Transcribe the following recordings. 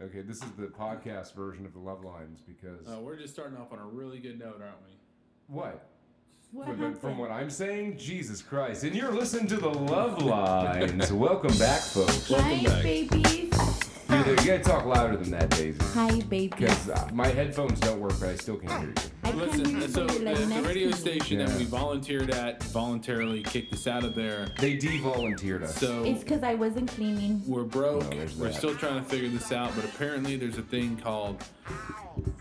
Okay, this is the podcast version of the love lines because Uh, we're just starting off on a really good note, aren't we? what? What From, happened? from what I'm saying, Jesus Christ! And you're listening to the love lines. Welcome back, folks. Welcome Hi, back. baby. You, you gotta talk louder than that, Daisy, Hi, baby. because uh, my headphones don't work, but I still can't hear you. I can't Listen, even so do the, it like the next radio to you. station Yeah. that we volunteered at voluntarily kicked us out of there. They de-volunteered us. So It's because I wasn't cleaning. we're broke. No, there's we're that. still trying to figure this out, but apparently there's a thing called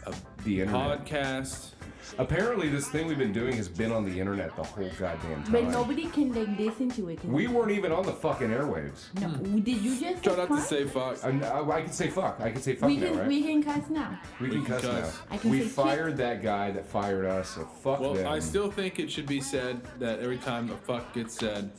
a the internet. podcast. Apparently, this thing we've been doing has been on the internet the whole goddamn time. But nobody can like listen to it. can we weren't even on the fucking airwaves. they? no. Hmm. Did you just Try not to fuck? say fuck. I'm, I, I can say fuck. I can say fuck we now, can right? we can cuss now. We can cuss now. I can We say shit. fired that guy that fired us, so fuck Well, them. I still think it should be said that every time a fuck gets said,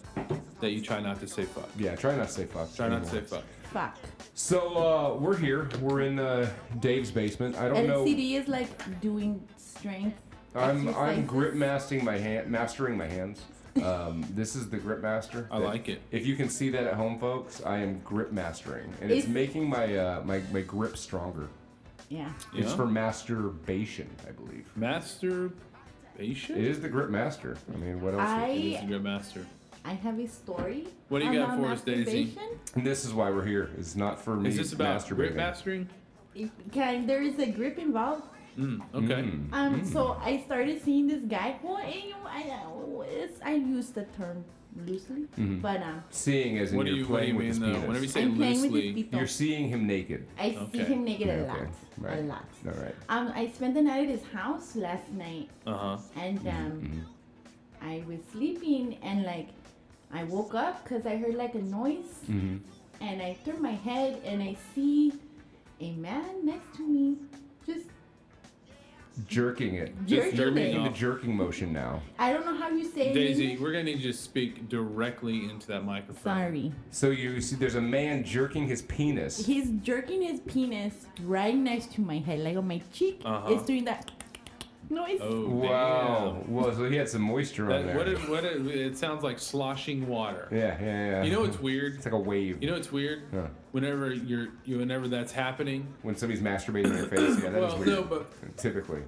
that you try not to say fuck. yeah, try not to say fuck. Try not to say anymore. fuck. Fuck. So uh, we're here. We're in uh, Dave's basement. I don't know. LCD is like doing strength. I'm I'm exercises. grip mastering my hand, mastering my hands. Um, this is the grip master. I that- like it. If you can see that at home, folks, I am grip mastering, and it's If- making my uh, my my grip stronger. Yeah. It's Yeah? for masturbation, I believe. It Masturbation? is the grip master. I mean, what else? would- I- He's a good master. I have a story. What do you got about for us, Daisy? masturbation. And this is why we're here. It's not for me. Is this about masturbating. grip mastering? It- Can there is a grip involved? Mm, okay. Mm. Um, so I started seeing this guy. Well, and you, I, it's, I use the term loosely, Mm-hmm. but um, Seeing as in What do you're you what do playing you with his mean though? penis. Whenever you say I'm playing with his loosely, people. You're seeing him naked. I see Okay. him naked Yeah, a okay. lot, Right. a lot. All right. Um, I spent the night at his house last night, uh huh. Uh-huh. and Mm-hmm, um, I was sleeping, and like, I woke up because I heard like a noise, Mhm. Mm-hmm. and I turn my head, and I see a man next to me, just Jerking it. jerking. jerking it. Making the off. jerking motion now. I don't know how you say it in Daisy, English. we're gonna need you to speak directly into that microphone. Sorry. So you see, there's a man jerking his penis. He's jerking his penis right next to my head, like on my cheek. Uh-huh. It's doing that noise. Oh wow. Well, so he had some moisture damn. on That, there. what? It, what? It, it sounds like sloshing water. yeah, yeah, yeah. You know what's weird? It's like a wave. You know what's weird? Huh. Whenever you're, you whenever that's happening. when somebody's masturbating in your face. Yeah, that is Well, weird. no, but- Typically.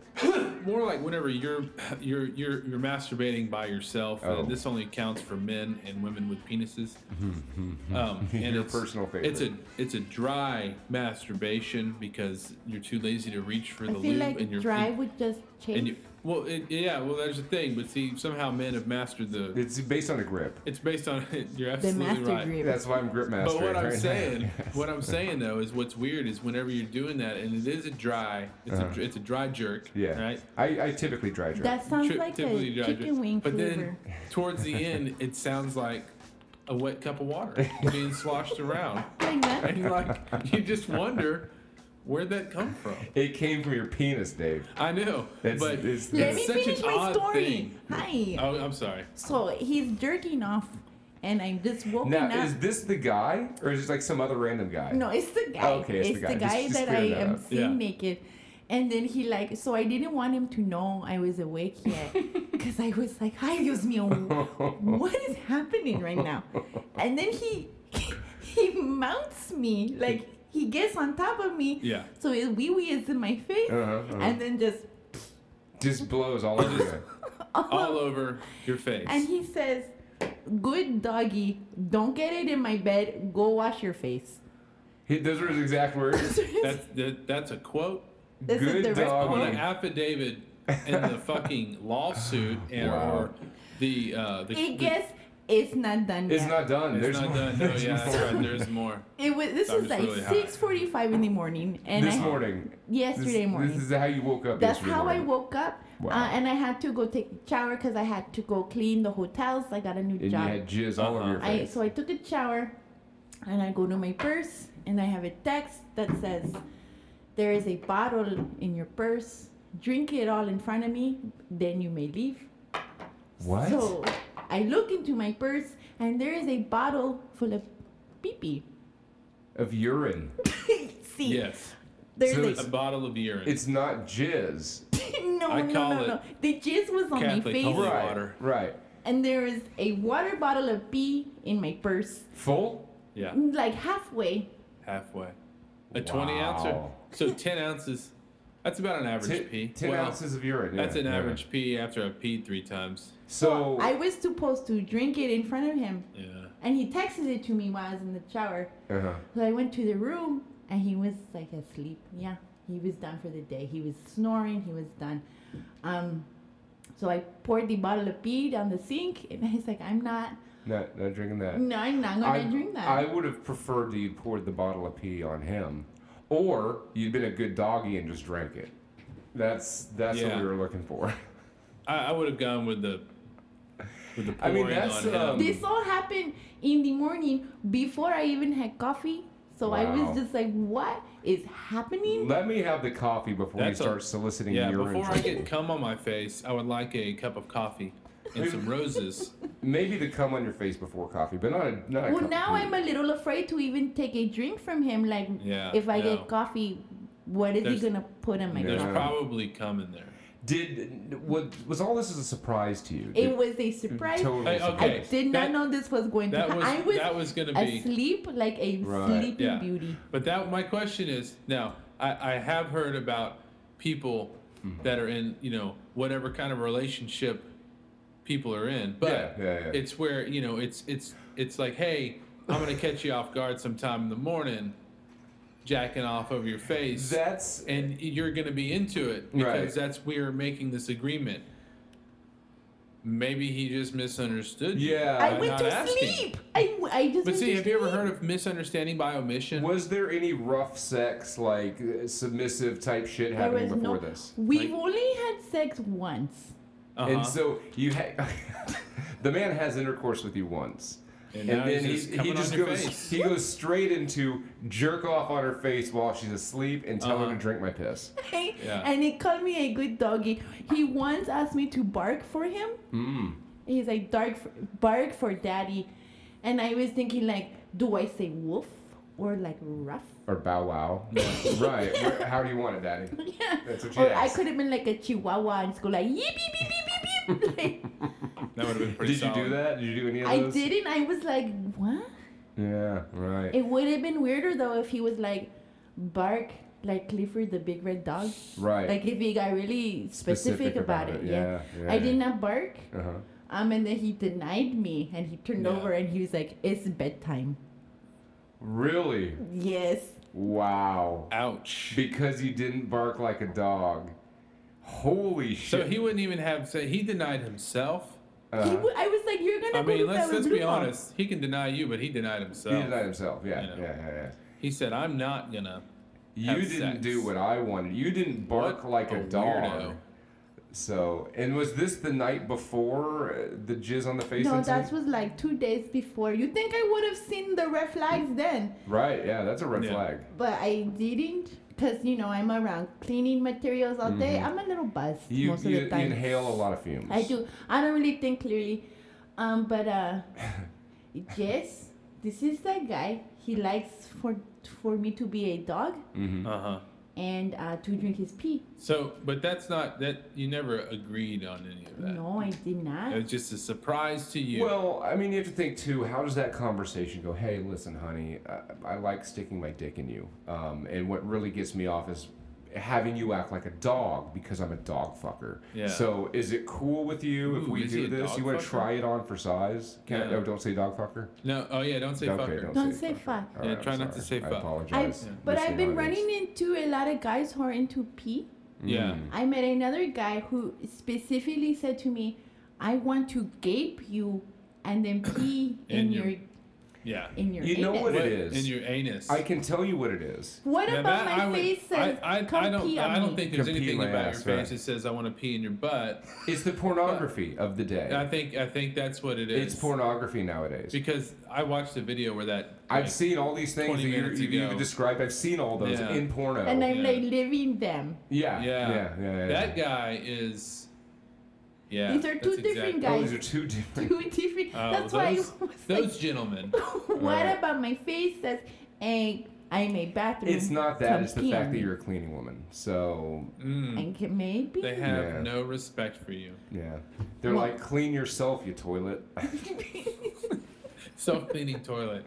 More like whenever you're you're you're you're masturbating by yourself. Oh. Uh, this only counts for men and women with penises. um, and Mm-hmm. Your it's- personal favorite. It's a it's a dry masturbation because you're too lazy to reach for the I feel lube and like your dry would just change. And you, well, it, yeah, well, there's a thing, but see, somehow men have mastered the. It's based on a grip. It's based on you're the absolutely master right. grip. That's why I'm grip But mastering. what I'm right now. saying, what I'm saying though, is what's weird is whenever you're doing that, and it is a dry, it's a dr a it's a dry jerk, Uh-huh. Yeah. right? I, I typically dry jerk. That sounds Tri- like typically a dry chicken wing But flavor. then towards the end, it sounds like a wet cup of water being sloshed around, like that. and like you just wonder where'd that come from. It came from your penis, Dave. I know, It's- but it's- Let It's me such an finish my odd story. thing. Hi. Oh, I'm sorry. So he's jerking off, and I'm just woken Now, up. is this the guy, or is this like some other random guy? No, it's the guy. Okay, it's the guy. Just- just that I clear that am up. seeing Yeah. naked. And then he like, so I didn't want him to know I was awake yet, because I was like, "Hi, Dios mío, Uh-huh, what is happening right now?" And then he he mounts me, like he gets on top of me. Yeah. So his wee wee is in my face, Uh-huh, uh-huh. and then just Just blows all over you. all over your face. Uh-huh. and he says, "Good doggy, don't get it in my bed. Go wash your face." He- Those were his exact words. that's that, that's a quote This is Good the dog. on response. an affidavit in the fucking lawsuit and Wow. or the uh the, It the- gets it's not done It's yet. not done. it's There's not more- done. No, there's yeah, that's more. right. There's more. It was this I is was like really high. six forty five in the morning and This I, morning. yesterday this, morning. This is how you woke up. That's yesterday how I morning. woke up. Wow. Uh, and I had to go take a shower because I had to go clean the hotels. I got a new And you job. had jizz all over your Uh-huh. I face. so I took a shower and I go to my purse and I have a text that says there is a bottle in your purse. Drink it all in front of me, then you may leave. what? So I look into my purse and there is a bottle full of pee pee. Of urine. See, Yes, there's So a a bottle of urine. It's not jizz. no, I call no, no, it no. The jizz was on Catholic my face, holy Right. water. Right. and there is a water bottle of pee in my purse, Full? yeah, like halfway. halfway. A 20 ouncer. Wow. So 10 ounces. That's about an average Ten, pee. 10 Well, ounces of urine. That's yeah, an yeah. average pee after I peed three times. So I was supposed to drink it in front of him, Yeah. and he texted it to me while I was in the shower. uh-huh. So I went to the room, and he was like asleep. Yeah, he was done for the day. He was snoring. He was done. Um, so I poured the bottle of pee down the sink, and he's like, "I'm not. not not drinking that. No, I'm not gonna I, drink that." I would have preferred that you poured the bottle of pee on him, or you'd been a good doggy and just drank it. That's that's what Yeah. we were looking for. I, I would have gone with the with the I pouring mean, that's, on him. um, this all happened in the morning before I even had coffee. So I Wow. was just like, "What is happening?" Let me have the coffee before That's a- you start soliciting yeah, urine. before I from get me. cum on my face, I would like a cup of coffee and some roses. Maybe the cum on your face before coffee, but not a not. a cup Well, of now pee. I'm a little afraid to even take a drink from him. Like, Yeah, if I no. get coffee, what is There's- he gonna put in my Yeah. There's coffee? probably cum in there. Did was, was all this as a surprise to you? Did- It was a surprise. Totally Hey, surprised. okay. I did That- not know this was going to that happen. was- I was, that was gonna be- asleep like a Right. sleeping Yeah. beauty. But that my question is now I, I have heard about people Hmm. that are in you know whatever kind of relationship people are in, but Yeah, yeah, yeah. it's where you know it's it's it's like hey I'm gonna catch you off guard sometime in the morning, jacking off over your face, That's and you're gonna be into it because Right. that's we're making this agreement. Maybe he just misunderstood. you Yeah. by I'm I went Uh, not to asking. sleep. I, w- I just. But went see, to have you ever sleep. heard of misunderstanding by omission? was there any rough sex like uh, submissive type shit There happening was before no. this? We've Like- only had sex once. Uh-huh. And so you ha- the man has intercourse with you once. And And, now then he's he, just he coming just on your goes face. he goes straight into jerk off on her face while she's asleep and tell her Uh-huh. to drink my piss. Yeah. And he called me a good doggy. He once asked me to bark for him. Mm. He's like, dark for, bark for daddy. And I was thinking, like, do I say woof or like rough? Or bow wow. right. Where- How do you want it, Daddy? Yeah. That's what she Or I asked. could have been like a chihuahua and just go like, yee, beep, beep, beep, beep, beep. Like, That would have been pretty Did you solid. do that? Did you do any of I those? didn't. I was like, what? Yeah, right. It would have been weirder though if he was like, bark like Clifford the Big Red Dog. right. Like if he got really specific, about, it. Yeah. Yeah. I did not bark. Uh-huh. Um, and then he denied me, and he turned Yeah. over, and he was like, "It's bedtime." Really? Yes. Wow. Ouch. Because you didn't bark like a dog. Holy shit. So he wouldn't even have said he denied himself. He Uh-huh. w- I was like, "You're gonna Uh, I go mean, to let's bed with let's be Blue Mom." honest. He can deny you, but he denied He himself. did that himself. Yeah, You know. yeah, yeah, yeah. He said, "I'm not gonna." You Have didn't sex. do what I wanted. You didn't bark What like a, a dog. weirdo. So, and was this the night before uh, the jizz on the face No, incident? that was like two days before. You think I would have seen the red flags then? right. Yeah, that's a red Yeah. flag. But I didn't because, you know, I'm around cleaning materials all day. I'm Mm-hmm. a little buzzed You most you, of you the time. inhale a lot of fumes. I do. I don't really think clearly. Um, but uh, yes, this is that guy. He likes for for me to be a dog hmm Uh huh. and uh, to drink his pee. So, but that's not that you never agreed on any of that. No, I did It not. was just a surprise to you. Well, I mean, you have to think too. How does that conversation go? Hey, listen, honey, I, I like sticking my dick in you, um, and what really gets me off is having you act like a dog because I'm a dog fucker. Yeah. So, is it cool with you if Ooh, we is he do a this? dog You want fucker? to try it on for size? Can I, Yeah. oh, don't say dog fucker. no. Oh yeah. Don't say fucker. Don't say fuck. All Yeah, I'm try not to sorry. say I fuck. I, apologize. but listening I've been audience. running into a lot of guys who are into pee. Yeah. Mm. I met another guy who specifically said to me, "I want to gape you, and then pee in, In your- your, Yeah. in your You know anus." what it What- is. in your anus. I can tell you what it is. What Now about that my I would- face says, I, I, "Come I don't, pee on I don't me"? think there's Come pee in anything my about ass, your right. face that says I want to pee in your butt. It's the pornography of the day. I think I think that's what it is. it's pornography nowadays. because I watched a video where that I've like, seen all these things 20 that you, minutes you, ago. you've described. I've seen all those Yeah. in porno. and I'm Yeah. like living them. yeah, Yeah. yeah, yeah, yeah. yeah. That guy is. Yeah. These are two that's different exact- Oh, guys. these are two different. Two different. Uh, that's well, why those, I was those gentlemen. like, "What Right. about my face says, hey, I'm a bathroom." It's not that. Come It's the pee on fact that me." you're a cleaning woman. So Mm, And can- maybe. they have Yeah. no respect for you. yeah, they're Well- like, clean yourself, you toilet. Self cleaning toilet.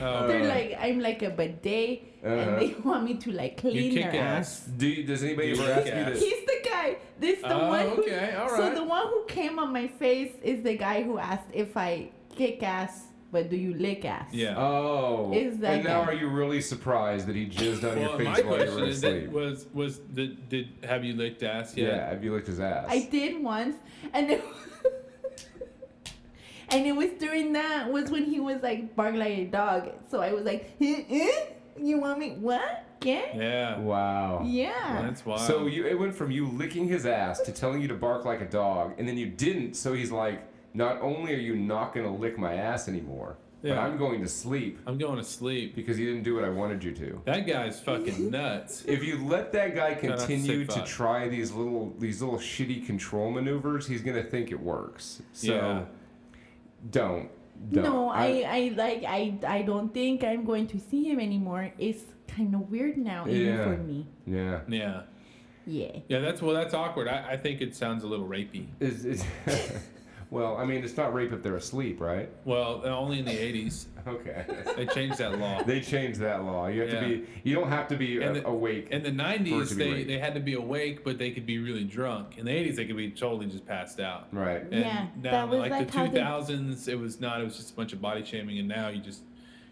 Oh, They're like, I'm like a bidet, Uh-huh. and they want me to like clean kick their ass. ass. Do you, does anybody You ever ask kick you ass. this? He's the guy. This the Oh, one. Who, okay, all So right. the one who came on my face is the guy who asked if I kick ass, but do you lick ass? yeah. Oh. Is that and now guy. are you really surprised that he jizzed on your well, face my while you question were is asleep? that was was did, did have you licked ass yeah. yet? have you licked his ass? I did once, and it and it was during that was when he was like barking like a dog. So I was like, "Huh, huh? you want me what? Get? Yeah. Wow. Yeah. That's wild. So you, it went from you licking his ass to telling you to bark like a dog, and then you didn't. So he's like, not only are you not going to lick my ass anymore, but Yeah. I'm going to sleep I'm going to sleep. because you didn't do what I wanted you to. That guy's fucking nuts. If you let that guy Kinda continue sick to fuck. try these little these little shitty control maneuvers, he's going to think it works. So Yeah. don't. don't. No, I, I like I I don't think I'm going to see him anymore. It's kind of weird now, even Yeah. for me. Yeah. Yeah. Yeah. Yeah, that's well that's awkward. I, I think it sounds a little rapey. Is it? well, I mean, it's not rape if they're asleep, right? Well, only in the eighties. Okay. They changed that law. they changed that law. You have Yeah. to be. You don't have to be And uh, the- awake. In the For it to nineties be they, rape. they had to be awake, but they could be really drunk. In the eighties they could be totally just passed out. right. And Yeah, now that was like, like the how two they- thousands it was not, it was just a bunch of body shaming and now you just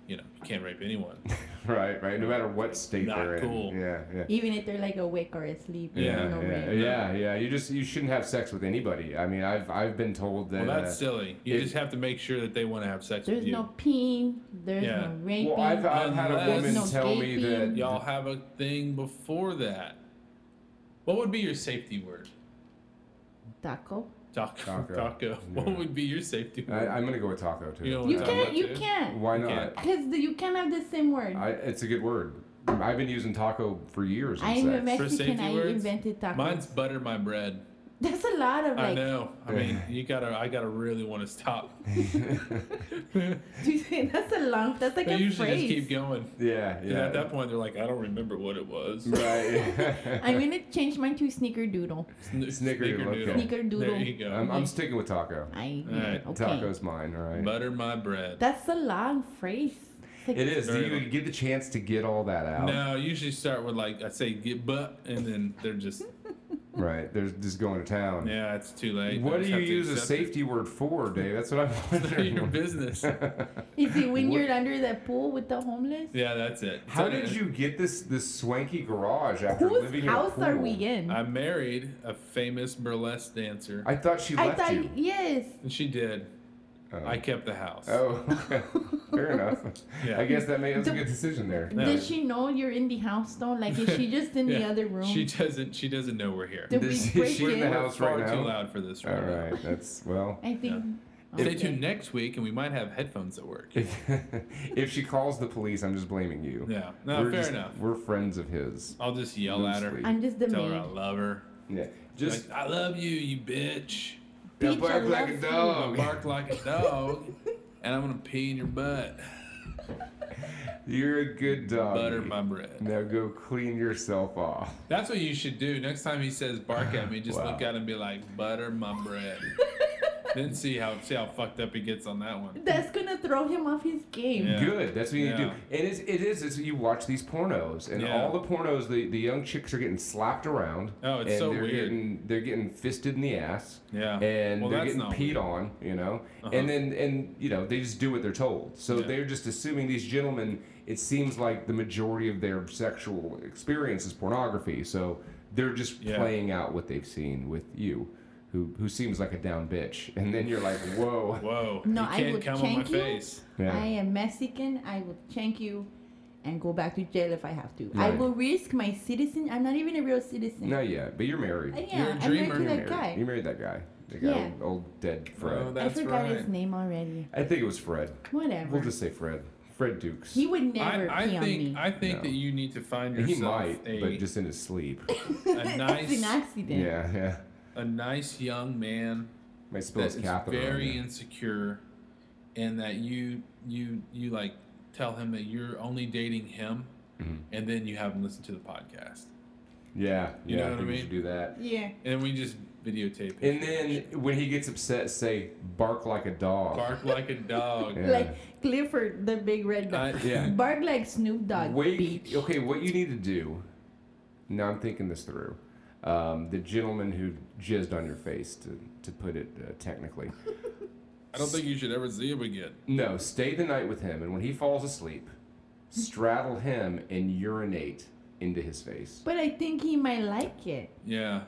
you know, you can't rape anyone. Right. Right. No matter what state Not they're cool. in. Yeah. Yeah. Even if they're like awake or asleep. there's Yeah, no yeah, way. yeah, yeah. You just you shouldn't have sex with anybody. I mean, I've I've been told that. uh, Well that's silly. You If- just have to make sure that they want to have sex There's with you. no peeing. There's Yeah. no uh, raping. well, I've, I've had a Unless- woman No tell me that gaping. Y'all have a thing before that. What would be your safety word? Taco. Taco. Taco. Taco. Yeah. What would be your safety I, word? I'm gonna go with taco too. You know You Taco can't. You too. can't. Why You not? Because the- you can't have the same word. I, it's a good word. I've been using taco for years. in I'm a sex. For safety Mexican. I words? invented tacos. Mine's butter my bread. That's a lot of I like. know. I mean, you gotta. I gotta really want to stop. that's a long. That's like they a usually phrase. just keep going. yeah, 'Cause yeah. At that point, they're like, I don't remember what it was. right. I'm gonna change mine to snickerdoodle. Sn- Snickerdoodle, okay. Snickerdoodle. There you go. I'm, I'm sticking with taco. I Alright, okay. Taco's mine. All right. butter my bread. That's a long phrase. It's like- It is. Do Very you much. get the chance to get all that out? no, I usually start with like I say get butt, and then they're just Right. They're just going to town. yeah, it's too late. I What do just you have to use a accept it. safety word for, Dave? That's what I'm wondering. Your business. Is it when What- you're under that pool with the homeless? Yeah, that's it. How So uh, did then you get this this swanky garage after Whose living house in a pool? are we in? I married a famous burlesque dancer, I thought she I left thought you. yes. and she did. Oh. I kept the house. Oh, fair enough. Yeah. I guess that made that was a The- good decision there. No. Did she know you're in the house though? Like is she just in the Yeah. other room? She doesn't. She doesn't know we're here. Did Did we she- break she in in? the We're house far right too now? loud for this right All now. right. That's well. I think. Oh, Stay okay. tuned next week, and we might have headphones that work. If if she calls the police, I'm just blaming you. Yeah, no, We're fair just- enough. We're friends of his. I'll just yell at her, Loosely. I'm just the tell her I maid. love her. Yeah. Just Like, I love you, you bitch. yeah, Bitch, I bark like love a you. dog. Bark like a dog, and I'm gonna pee in your butt. You're a good dog. Butter my bread. Now go clean yourself off. That's what you should do. Next time he says bark at me, just Wow. look at him and be like, butter my bread. then see how see how fucked up he gets on that one. That's gonna throw him off his game. Yeah. Good. That's what you need to do. Yeah. It is. It is. It's you watch these pornos, and Yeah. all the pornos, the, the young chicks are getting slapped around. Oh, it's and so they're weird. Getting, they're getting fisted in the ass. Yeah. And Well, they're that's getting not peed weird. on, you know. Uh-huh. And then and you know they just do what they're told. So Yeah. they're just assuming these gentlemen. It seems like the majority of their sexual experience is pornography. So they're just Yeah. playing out what they've seen with you. Who, who seems like a down bitch, and then you're like, whoa, Whoa. No, you I can't would come on my shank you. face. Yeah. I am Mexican. I will shank you and go back to jail if I have to. I Right. will risk my citizen. I'm not even a real citizen. Not yet, but you're married. Uh, You're a yeah, I'm married dreamer. to You that married, guy. you married that guy. The guy, Yeah. old, old dead Fred. Oh, I that's forgot right. his name already. I think it was Fred. Whatever. We'll just say Fred. Fred Dukes. he would never I, pee I think on me. I think No. that you need to find he yourself might, a, but just in his sleep. a it's nice an accident. yeah, yeah. a nice young man Might spill that his is catheter. on very you. insecure, and that you you you like Mm-hmm. tell him that you're only dating him, and then you have him listen to the podcast. Yeah, yeah, You know I what I think we mean? should do that. Yeah. and we just videotape it. And then when he gets upset, say bark like a dog. bark like a dog. Yeah. Uh, Like Clifford, the big red dog. I- Yeah. Bark like Snoop Dogg. Wait, bitch. okay, what you need to do. Now I'm thinking this through. Um, the gentleman who jizzed on your face, to, to put it uh, technically. I don't think you should ever see him again. No, stay the night with him, and when he falls asleep, straddle him and urinate into his face. But I think he might like it. Yeah.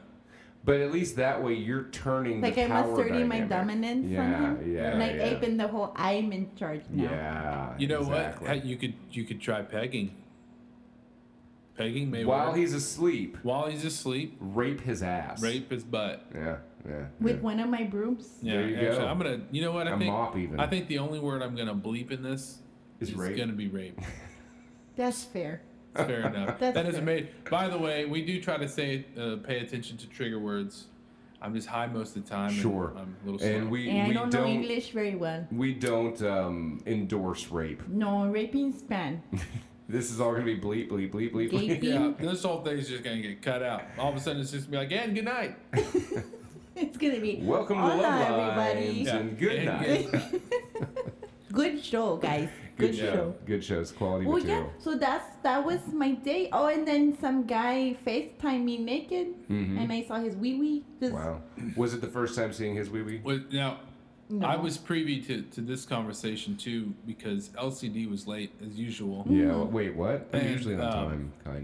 But at least that way you're turning Like the I'm power asserting my dynamic. dominance Yeah, on him. yeah, like yeah. aping the whole I'm in charge now. Yeah. You know exactly. what? Hey, You could you could try pegging. Pegging may While work. he's asleep, while he's asleep, rape his ass. rape his butt. Yeah, yeah. With yeah. one of my brooms. Yeah, There you actually, go. I'm gonna. You know what? I A think. mop even. I think the only word I'm gonna bleep in this Is is rape. gonna be rape. That's fair. It's Fair enough. That's that is fair. made. By the way, we do try to say, uh, pay attention to trigger words. I'm just high most of the time. and Sure. I'm a little slow. And we And I we don't, know English very well. we don't um, endorse rape. No, raping span. This is all gonna be bleep bleep bleep bleep. bleep. Gaping. Yeah, this whole thing's just gonna get cut out. All of a sudden, it's just gonna be like, and good night. It's gonna be Welcome to Hola, Love everybody. Lines Yeah. and good And night. Good show, guys. Good, show. show. Good shows. Quality Oh yeah. material. So that's that was my day. Oh, and then some guy FaceTimed me naked, Mm-hmm. and I saw his wee wee. Just- Wow. Was it the first time seeing his wee wee? Wait, Now, No. I was privy to, to this conversation too because LCD was late as usual. Yeah. well, Wait, what? I'm And, usually on um, time,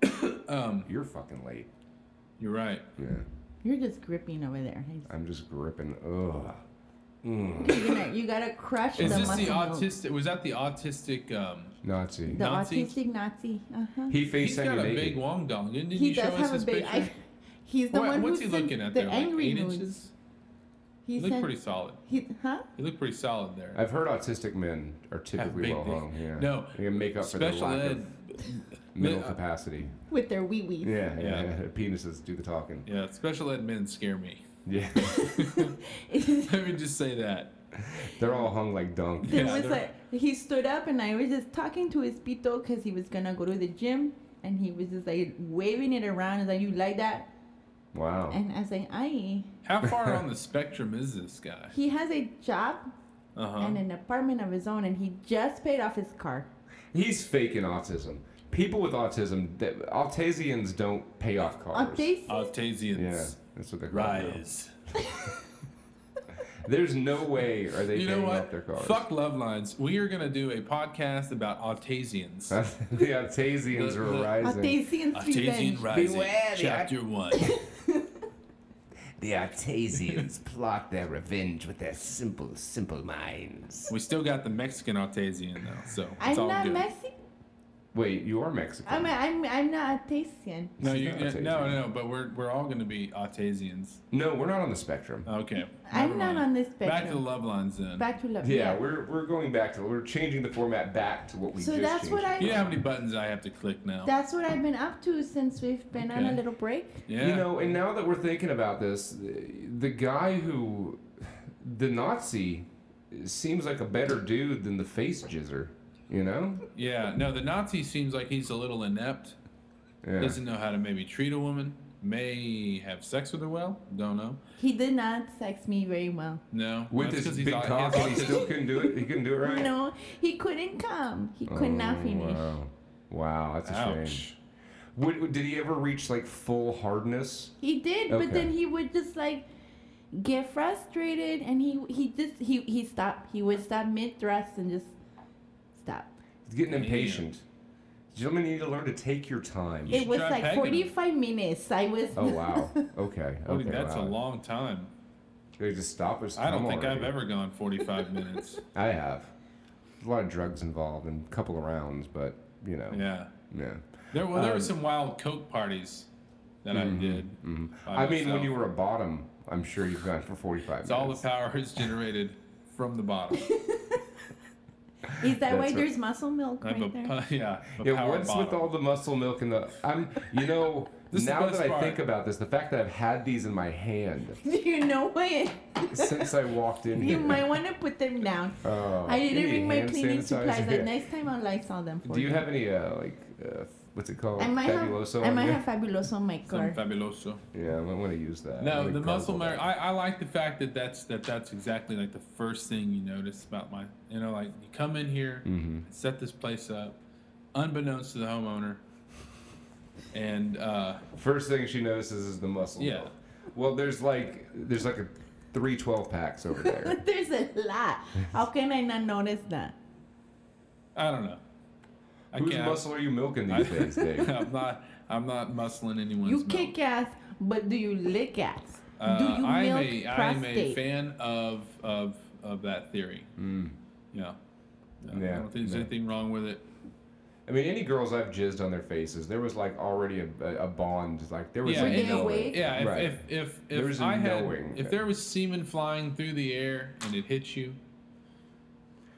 kinda. Um, You're fucking late. you're right. Yeah. You're just gripping over there. I'm just gripping. Ugh. Mm. You're gonna, you gotta crush Is the this the muscle note. autistic? Was that the autistic? Um, Nazi. The Nazi? autistic Nazi. Uh huh. He he's faced got you a naked. big wong dong. Didn't, didn't He you show does us have a his big. picture? I, he's the What- one what's who he sent looking at the there? like angry eight nudes. inches? He He looked sent- pretty solid. He, huh? He looked pretty solid there. I've heard autistic men are typically big well dicks. hung. Yeah. No, They can make up for their Special lack ed. of mental uh, capacity. With their wee wees. Yeah, yeah. Yeah. yeah. Penises do the talking. Yeah, special ed men scare me. Yeah. Let me just say that. They're all hung like donkeys. There Yeah, was they're- like he stood up and I was just talking to his pito because he was gonna go to the gym and he was just like waving it around and like you like that Wow. and I was like I How far on the spectrum is this guy? he has a job Uh huh. and an apartment of his own and he just paid off his car. He's faking autism. People with autism, that, Altasians don't pay off cars. Autis- Altasians. yeah, that's what they're called. now. Rise. There's no way are they You know paying off what? their cars. Fuck love lines. We are gonna do a podcast about Altasians. the Altasians The- are the- rising. Altasian's revenge. Rising, Beware the one. the Altasians plot their revenge with their simple, simple minds. we still got the Mexican Altasian though, so it's I'm all not good. Mexican. Wait, you are Mexican. I'm, I'm I'm not Altasian. no, She's you, not no, Altasian. no, no, but we're we're all gonna be Altasians. no, we're not on the spectrum. Okay. never I'm not mind. on this Back to the spectrum. love lines then. Back to love. yeah, we're, we're going back to we're changing the format back to what we So just that's what changed. you know how many buttons I have to click now. That's what I've been up to since we've been on a Okay. little break. yeah. You know, and now that we're thinking about this, the, the guy who, the Nazi, seems like a better dude than the face jizzer. You know? yeah. No, the Nazi seems like he's a little inept. Yeah. Doesn't know how to maybe treat a woman. May have sex with her well. Don't know. He did not sex me very well. No. With That's his 'cause he's big au- he has cock, and he autism. still couldn't do it. He couldn't do it right. You know, he couldn't come. He could not Oh, finish. Wow. Wow, that's a shame. Ouch. Would, would- did he ever reach like full hardness? He did, Okay. but then he would just like get frustrated, and he he just he he stopped. He would stop mid thrust and just stop. He's getting Yeah. impatient. Gentlemen, you need to learn to take your time. You It should was try like pegging him. forty five minutes. I was. Oh wow. Okay. Holy, okay that's wow. a long time. They just stop us. I don't come think I've already. ever gone 45 minutes. I have. A lot of drugs involved and a couple of rounds, but you know. Yeah. Yeah. There, well, there Um, were some wild coke parties that I did. by mm-hmm, I mean, when myself. you were a bottom, I'm sure you've gone for 45 It's minutes. all the power is generated from the bottom. Is that why That's right. there's muscle milk I have a right there? pu- yeah, a yeah, power what's bottom. with all the muscle milk and the? I'm, you know, This is the now best that I part. think about this, the fact that I've had these in my hand Do you know what? since I walked in You here. might want to put them down. Oh, I didn't any bring my hand cleaning sanitizer? supplies. Like next time, I'll like sell them for Do you have any uh, like uh, what's it called? I might Fabuloso. have I on might you? have fabuloso on my Some car. fabuloso. Yeah, I'm gonna use that. I'm No, gonna the muscle gargle memory. that. I, I like the fact that that's that that's exactly like the first thing you notice about my. You know, like you come in here, Mhm. set this place up, unbeknownst to the homeowner, and uh, First thing she notices is the muscle. Yeah. milk. Well, there's like there's like a three twelve packs over there. There's a lot. How can I not notice that? I don't know. I Whose can't. muscle are you milking I, these days, Dave? am not. I'm not muscling anyone's. you milk. kick ass, but do you lick ass? Uh, do you I'm milk a, I'm a prostate? fan of of of that theory. Mm. Yeah. I Yeah, don't think there's no. anything wrong with it. I mean, any girls I've jizzed on their faces, there was like already a, a, a bond. Like there was Yeah, a Were they knowing. awake? Yeah, if Right. if if, There if was a I had knowing if that- there was semen flying through the air and it hit you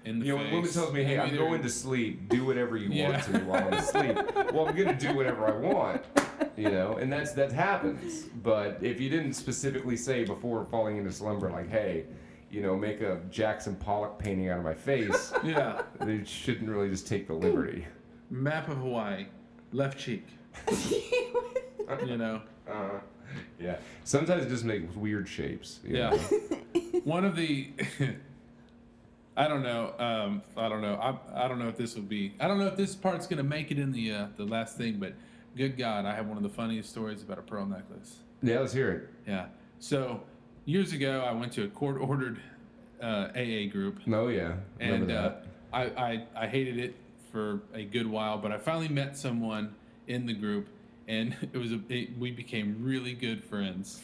in the You know, face, when a woman tells me, "Hey, you I'm either- going to sleep. Do whatever you Yeah. want to me while I'm asleep." well, I'm gonna do whatever I want, you know, and that's that happens. But if you didn't specifically say before falling into slumber, like, "Hey," you know, make a Jackson Pollock painting out of my face, yeah, they shouldn't really just take the liberty. map of Hawaii, left cheek, you know. Uh, yeah, sometimes it just makes weird shapes. you Yeah. know? One of the I don't know. Um, I don't know. I, I don't know if this will be. I don't know if this part's gonna make it in the uh, the last thing. But good God, I have one of the funniest stories about a pearl necklace. yeah. Let's hear it. Yeah. So years ago, I went to a court ordered uh, AA group, No, Oh, yeah. Remember and uh, that. I, I I hated it for a good while. But I finally met someone in the group, and it was a it, we became really good friends.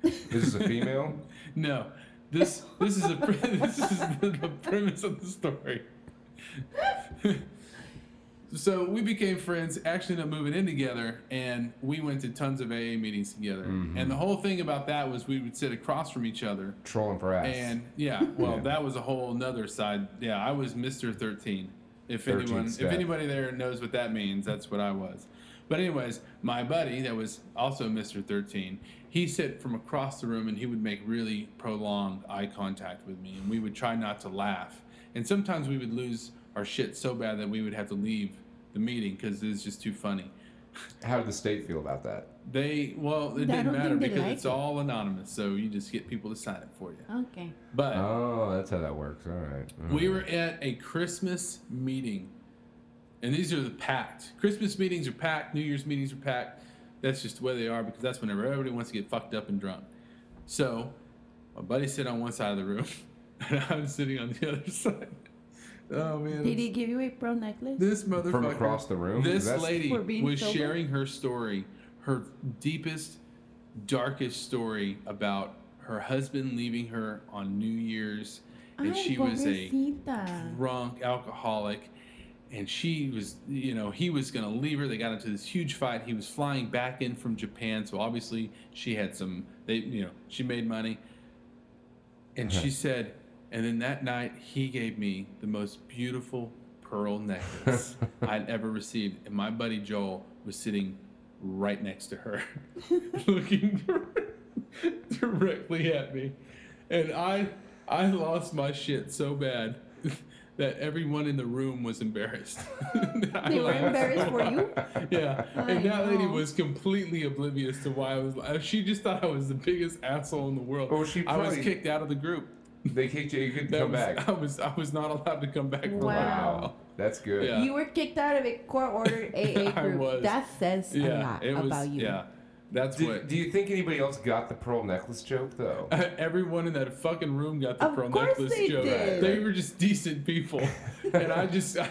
this is a female. No, this this is a pre- this is the premise of the story. so we became friends, actually ended up moving in together, and we went to tons of AA meetings together. And the whole thing about that was we would sit across from each other, Trolling for ass. and yeah, well, Yeah. that was a whole nother side. Yeah, I was Mister Thirteen. If 13 anyone, step. if anybody there knows what that means, that's what I was. But anyways, my buddy that was also Mister Thirteen, he sat from across the room and he would make really prolonged eye contact with me, and we would try not to laugh. And sometimes we would lose our shit so bad that we would have to leave the meeting because it was just too funny. How did the state feel about that? They well, it I didn't don't matter think they because like it's it. all anonymous, so you just get people to sign it for you. Okay. But Oh, that's how that works. All right. Uh, We were at a Christmas meeting, and these are the packed. Christmas meetings are packed. New Year's meetings are packed. That's just the way they are because that's whenever everybody wants to get fucked up and drunk. So, my buddy sit on one side of the room, and I'm sitting on the other side. Oh man, Did he give you a pearl necklace? this motherfucker From across the room? This That's- lady For being was sober? sharing her story, her deepest, darkest story about her husband leaving her on New Year's, and Ay, she was a pobrecita. drunk alcoholic and she was you know he was going to leave her they got into this huge fight he was flying back in from japan so obviously she had some they you know she made money and she said and then that night he gave me the most beautiful pearl necklace i'd ever received and my buddy joel was sitting right next to her looking directly at me and i i lost my shit so bad that everyone in the room was embarrassed I They were laughed so embarrassed for hard. you? yeah I and that lady know. was completely oblivious to why i was like she just thought i was the biggest asshole in the world Well, she i was probably- kicked out of the group They kicked you. You couldn't That come was- back. i was i was not allowed to come back for a Wow, while that's good. Yeah. You were kicked out of a court ordered AA I group. was. That says a yeah lot it was about you. yeah that's Do, what do you think anybody else got the pearl necklace joke though? Everyone in that fucking room got the Of pearl course necklace they joke. did. They were just decent people, and I just I,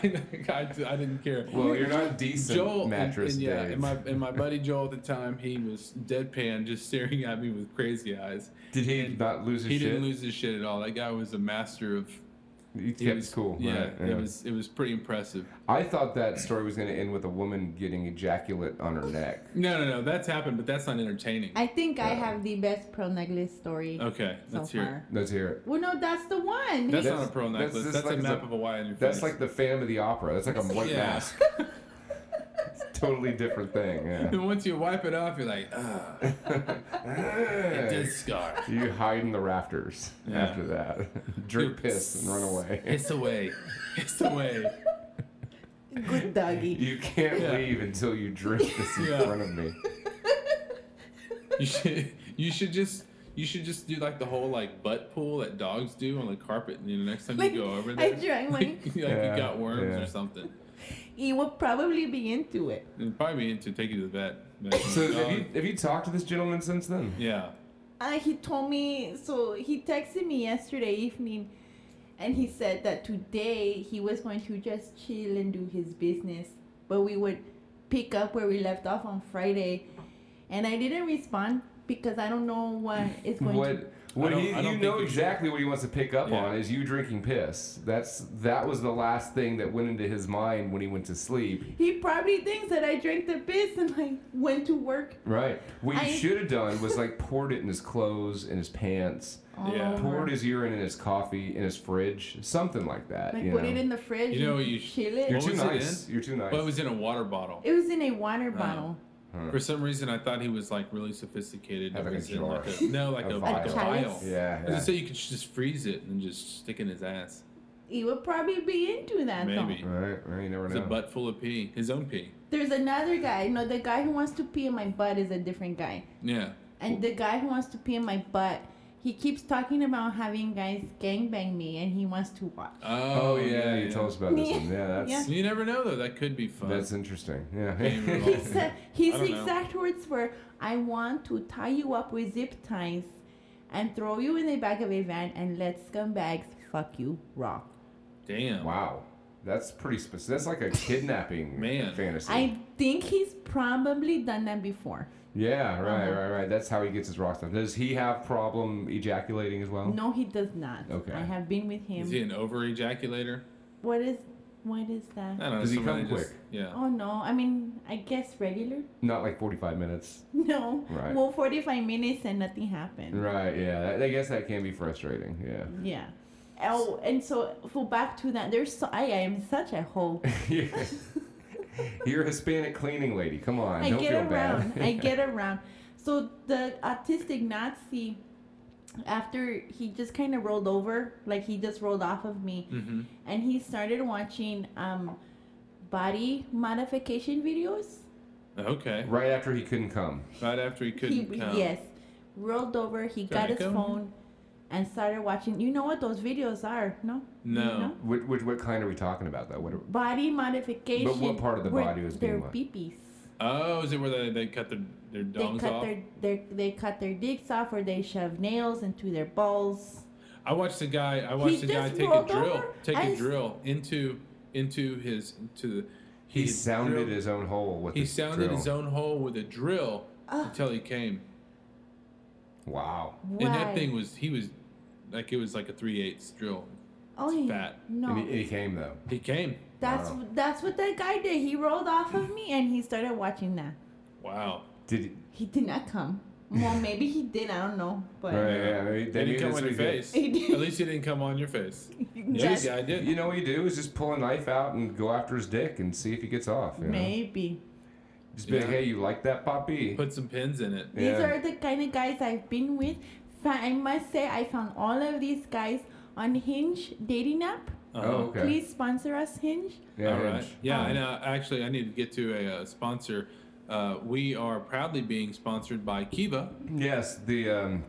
I, I didn't care. Well, you're not decent, Joel and- mattress and, yeah, Dave. and my and my buddy Joel at the time he was deadpan, just staring at me with crazy eyes. Did he and not lose his He shit? didn't lose his shit at all. That guy was a master of. he he kept was- cool. Yeah, right, yeah. it was it was pretty impressive. I thought that story was going to end with a woman getting ejaculate on her neck. No, no, no, that's happened, but that's not entertaining. I think I Yeah. have the best pearl necklace story okay, so let's hear. far. Let's hear it. Well, no, that's the one. It. That's, He- not a pearl That's- necklace. that's That's, like a it's map a- of Hawaii on your That's face. like the Phantom of the Opera. That's like a white Yeah. mask. Totally different thing. Yeah. And once you wipe it off, you're like, ah, it did scar. You hide in the rafters Yeah. after that. Drink piss and run away. Hiss away. Hiss away. Good doggy. You can't Yeah. leave until you drink this in Yeah. front of me. You should you should just you should just do like the whole like butt pull that dogs do on the carpet, and you know, next time Like, you go over I there, drank like, one. like Yeah, you got worms yeah. or something. He will probably be into it. It'd probably be to take you to the vet. Like, So have dog- you have you talked to this gentleman since then? yeah, Uh, he told me, so he texted me yesterday evening and he said that today he was going to just chill and do his business, but we would pick up where we left off on Friday. And I didn't respond because I don't know what it's going to What what I don't- he, I don't you think know you should. exactly what he wants to pick up Yeah. on is you drinking piss. That's that was the last thing that went into his mind when he went to sleep. He probably thinks that I drank the piss and I went to work. Right. What you I- should have done was like poured it in his clothes, in his pants, all Yeah. over. poured his urine in his coffee, in his fridge, something like that. Like you put know? it in the fridge. You know, and you sh- chill it. You're What too was it nice. in? You're too nice. but it was in a water bottle. It was in a water bottle. For some reason, I thought he was like really sophisticated. Had, It like, a was in, jar. like a- no, like A a, like a vial. vial. yeah. As I yeah. say, you could just freeze it and just stick it in his ass. He would probably be into that Maybe. though. Right, right. You never It's know. a butt full of pee, his own pee. There's another guy. No, the guy who wants to pee in my butt is a different guy. Yeah. And the guy who wants to pee in my butt, he keeps talking about having guys gangbang me and he wants to watch. Oh, Oh, yeah, you told us about this one. Yeah, that's Yeah. You never know though. That could be fun. that's interesting. Game Yeah. He involved. said his Oh, I don't know. exact words were, "I want to tie you up with zip ties, and throw you in the back of a van and let scumbags fuck you raw." Damn. wow. That's pretty specific. That's like a kidnapping Man. fantasy. I think he's probably done that before. Yeah, right, Uh-huh. right, right. That's how he gets his rock stuff. Does he have problem ejaculating as Oh. well? No, he does not. Okay. I have been with him. Is he an over ejaculator? What is, what is that? I don't know. Does he somebody come just- quick? Yeah. Oh no! I mean, I guess regular. Not like 45 minutes. No. Right. Well, forty-five minutes and nothing happened. Right, yeah. I- I guess that can be frustrating. Yeah. Yeah. Oh, and so for back to that, there's so I, I am such a hoe. Yeah. You're a Hispanic cleaning lady. Come on. I don't get feel around. bad. I get around. So the autistic Nazi, after he just kind of rolled over, like he just rolled off of me, Mm-hmm. Mm. and he started watching um, body modification videos. Okay. right after he couldn't come. Right after he He couldn't come. yes, rolled over. He got he his come? phone, and started watching. You know what those videos are? No. No. You know? Which, which, what kind are we talking about, though? What are, Body modification. But what part of the where body was their being what? peepees. Oh, is it where they, they cut their their They dongs cut off? their, their they cut their dicks off or they shove nails into their balls. I watched a guy. I watched a guy just take a rolled drill, over? take I a s- drill into into his into. the- he had sounded drilled- his own hole with He his sounded drill. his own hole with a drill Ugh. until he came, Wow. Why? and that thing was he was like it was like a three eighths drill. oh, fat. No, And he, he came, though. He came. that's Wow. that's what that guy did. He rolled off of me and he started watching that. Wow. Did He did not come. Well, maybe he did. I don't know, but Right. yeah, I mean, they He didn't knew come this on your was good. face. He did. At least he didn't come on your face. Yeah, Just- this guy did. You know what you do is just pull a knife out and go after his dick and see if he gets off. You know? maybe. Just be like, Yeah. hey, you like that poppy? Put some pins in it. These Yeah. are the kind of guys I've been with. Fa- I must say, I found all of these guys on Hinge dating app. Uh-huh. Oh, okay. Please sponsor us, Hinge. Yeah, All right. Hinge. Yeah, Um, and uh, actually, I need to get to a uh, sponsor. Uh, we are proudly being sponsored by Kiva. Yes, the um,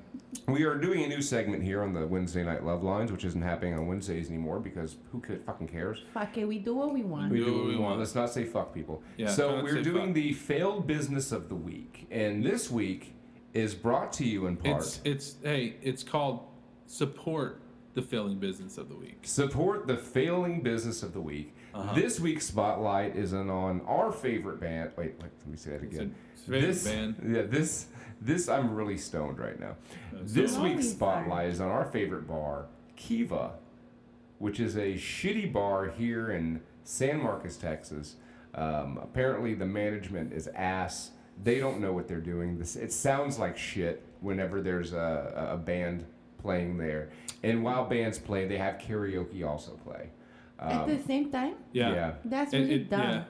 we are doing a new segment here on the Wednesday Night Love Lines, which isn't happening on Wednesdays anymore because who could, fucking cares? Fuck it, we do what we want. We Do do what what we we want. want. Let's not say fuck people. Yeah, so don't we're say doing fuck. the failed business of the week, and this week is brought to you in part. It's it's hey, it's called support the failing business of the week. Support the failing business of the week. Uh-huh. This week's spotlight is on- on our favorite band. Wait, wait let me say that again. It's a favorite this, band. Yeah, this this I'm really stoned right now. That's this so- week's Always spotlight is on our favorite bar, Kiva, which is a shitty bar here in San Marcos, Texas. Um, apparently, the management is ass. They don't know what they're doing. This it sounds like shit whenever there's a, a band playing there. And while bands play, they have karaoke also play. At the same time, um, Yeah. that's It- really it- dumb. yeah.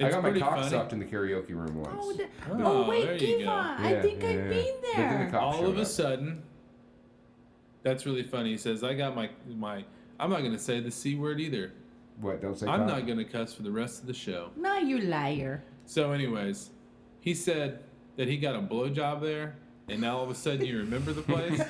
I It's got my pretty cock funny. sucked in the karaoke room once. Oh, the, Oh, oh, there wait, you Kiva, go. Yeah, I think yeah, I've yeah. been They there. did a cop All of showed a up. sudden, that's really funny. He says, "I got my my." I'm not gonna say the c word either, What? Don't say. I'm cock? not going to cuss for the rest of the show. No, you liar. So, anyways, he said that he got a blowjob there, and now all of a sudden you remember the place.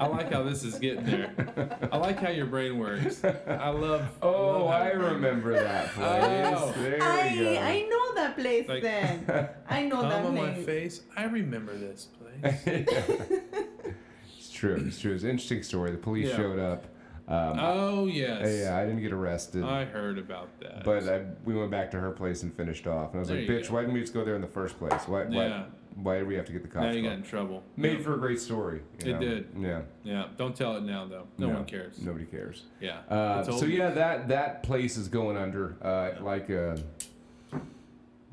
I like how this is getting there. I like how your brain works. I love. Oh, love how I your brain- remember that place. Oh. There I we go. I know that place Like- then. I know Thumb that on my place. face. I remember this place. It's true. It's true. It's an interesting story. The police Yeah. showed up. Um, oh yes. Ah, yeah, I didn't get arrested. I heard about that. But uh, I, we went back to her place and finished off. And I was There like, you bitch, go. why didn't we just go there in the first place? Why, Yeah. why, why did we have to get the cops? now you got in involved? trouble. Made for a great story. you It know? did. Yeah. Yeah. Don't tell it now though. No, one cares. Nobody cares. Yeah. Uh, It's old so yeah, news. that that place is going under, uh, like uh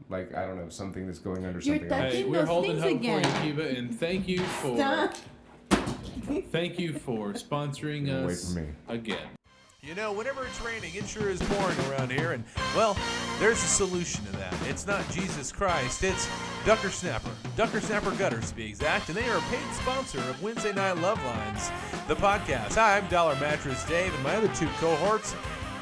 like I don't know something that's going under You're something. touching- else. Hey, Touching we're those holding things hope again. for you, Kiva, and thank you for Stop. thank you for sponsoring Away us from me. again. You know, whenever it's raining, it sure is pouring around here. And, well, there's a solution to that. It's not Jesus Christ, it's Ducker Snapper. Ducker Snapper Gutters, to be exact. And they are a paid sponsor of Wednesday Night Love Lines, the podcast. Hi, I'm Dollar Mattress Dave, and my other two cohorts,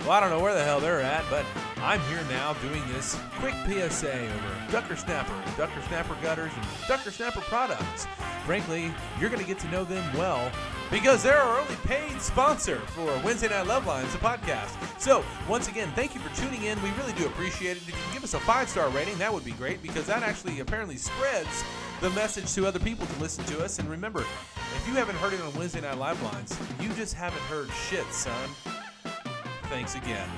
well, I don't know where the hell they're at, but I'm here now doing this quick PSA over Ducker Snapper, and Ducker Snapper Gutters, and Ducker Snapper products. Frankly, you're going to get to know them well because they're our only paid sponsor for Wednesday Night Love Lines, the podcast. So, once again, thank you for tuning in. We really do appreciate it. If you can give us a five star rating, that would be great because that actually apparently spreads the message to other people to listen to us. And remember, if you haven't heard it on Wednesday Night Live Lines, you just haven't heard shit, son. Thanks again.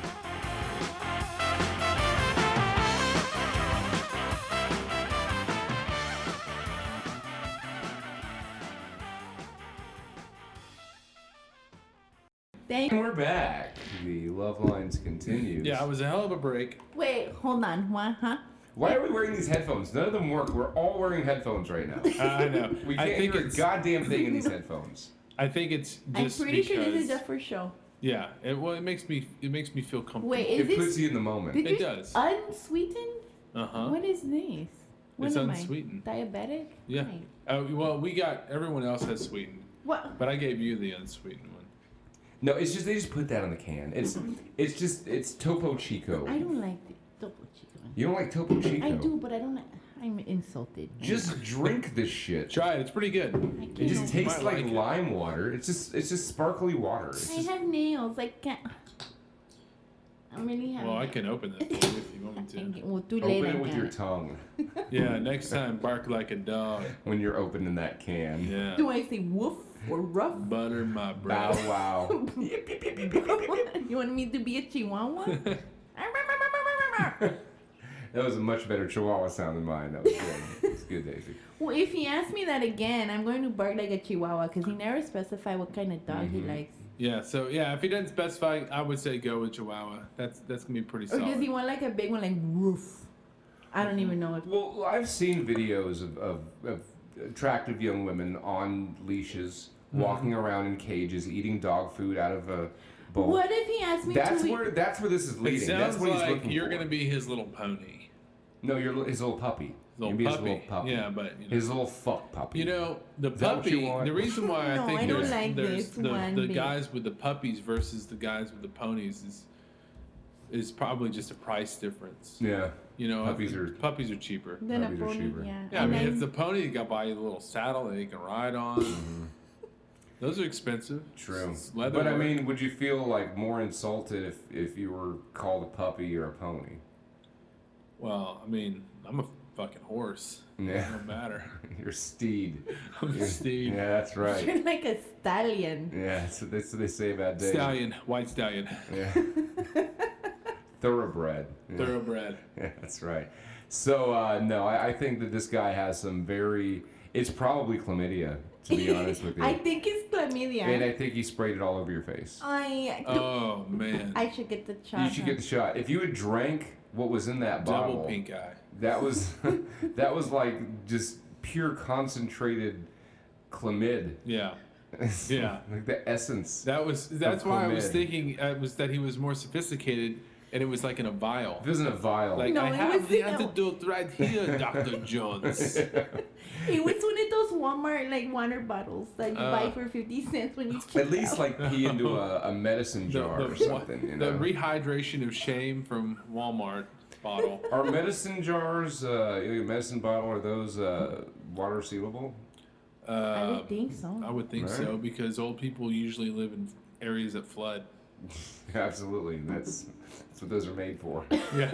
Thank And we're back. The love lines continues. Yeah, it was a hell of a break. Wait, hold on. What, huh? Why are we wearing these headphones? None of them work. We're all wearing headphones right now. I know. We I can't think hear a it's goddamn thing in these headphones. I think it's just I'm pretty because, sure this is just for show. yeah. It, well, it makes me it makes me feel comfortable. Wait, It is puts this? you in the moment. Did It this does. unsweetened? uh huh. What is this? What It's am I, unsweetened. Diabetic? Yeah. Right. Uh, well, we got everyone else has sweetened, What? but I gave you the unsweetened one. No, it's just they just put that on the can. It's it's just it's Topo Chico. I don't like the double chicken. You don't like Topo Chico? I do, but I don't. like- I'm insulted. Just drink this shit. Try it. It's pretty good. I It can't. just tastes might like, like it. lime water. It's just it's just sparkly water. It's I just- have nails. I can't. I'm really having. Well, I can open that for you if you want I me can- well, too late. open I it with your can't. tongue to. Yeah. Next time, bark like a dog. when you're opening that can. Yeah. Do I say woof or rough? Butter my Bow brow. wow. you want me to be a chihuahua? that was a much better Chihuahua sound than mine. That was good. It's good, Daisy. well, if he asks me that again, I'm going to bark like a chihuahua because he never specified what kind of dog he Mm-hmm. likes. Yeah. So yeah, if he doesn't specify, I would say go with Chihuahua. That's that's gonna be pretty Or Oh, does he solid. want like a big one, like woof? I don't even know. What, Well, I've seen videos of, of, of attractive young women on leashes, Mm-hmm. walking around in cages, eating dog food out of a bowl. what if he asks me That's to? eat- where that's where this is It leading. That's sounds what he's like looking you're for. gonna be his little pony. No, you're his little puppy. Little You'd be puppy. His little puppy. Yeah, but, you know. his little fuck puppy. You know, the that what you puppy. want? The reason why No, I think I don't there's, like there's this the, one the bit. guys with the puppies versus the guys with the ponies is is probably just a price difference. Yeah. You know, Puppies if- are- puppies are cheaper. Then a Puppy's a pony, Shiba. yeah. Yeah, I And mean, if I'm- the pony you got by you a little saddle that you can ride on, those are expensive. Mm-hmm. True. It's But leather I work. mean, would you feel like more insulted if, if you were called a puppy or a pony? well, I mean, I'm a fucking horse. Yeah. It don't matter. Your steed. I'm a steed. Yeah, that's right. You're like a stallion. Yeah, that's what they, that's what they say about Dave. Stallion, white stallion, Yeah. Thoroughbred. Yeah. thoroughbred. Yeah, that's right. So uh, no, I, I think that this guy has some very. It's probably chlamydia, to be honest with you. I think it's chlamydia. and I think he sprayed it all over your face. I, Oh man, I should get the shot. You should get the shot. If you had drank what was in that bottle, double pink eye. that was that was like just pure concentrated chlamyd. Yeah. Yeah. like the essence. That was that's why I was Aquaman. thinking uh, was that he was more sophisticated and it was like in a vial. This isn't a vial. Like No, I it have, was they in have to a- do it right here, Doctor Jones. It was one of those Walmart like water bottles that you Uh, buy for fifty cents when you kick At least out. like pee into a, a medicine The- jar the or wa- something, you know. The rehydration of shame from Walmart bottle. Are medicine jars, uh, your medicine bottle, are those uh, water sealable? Uh, I would think so. I would think Right. so because old people usually live in areas that flood. Absolutely. That's that's what those are made for. Yeah,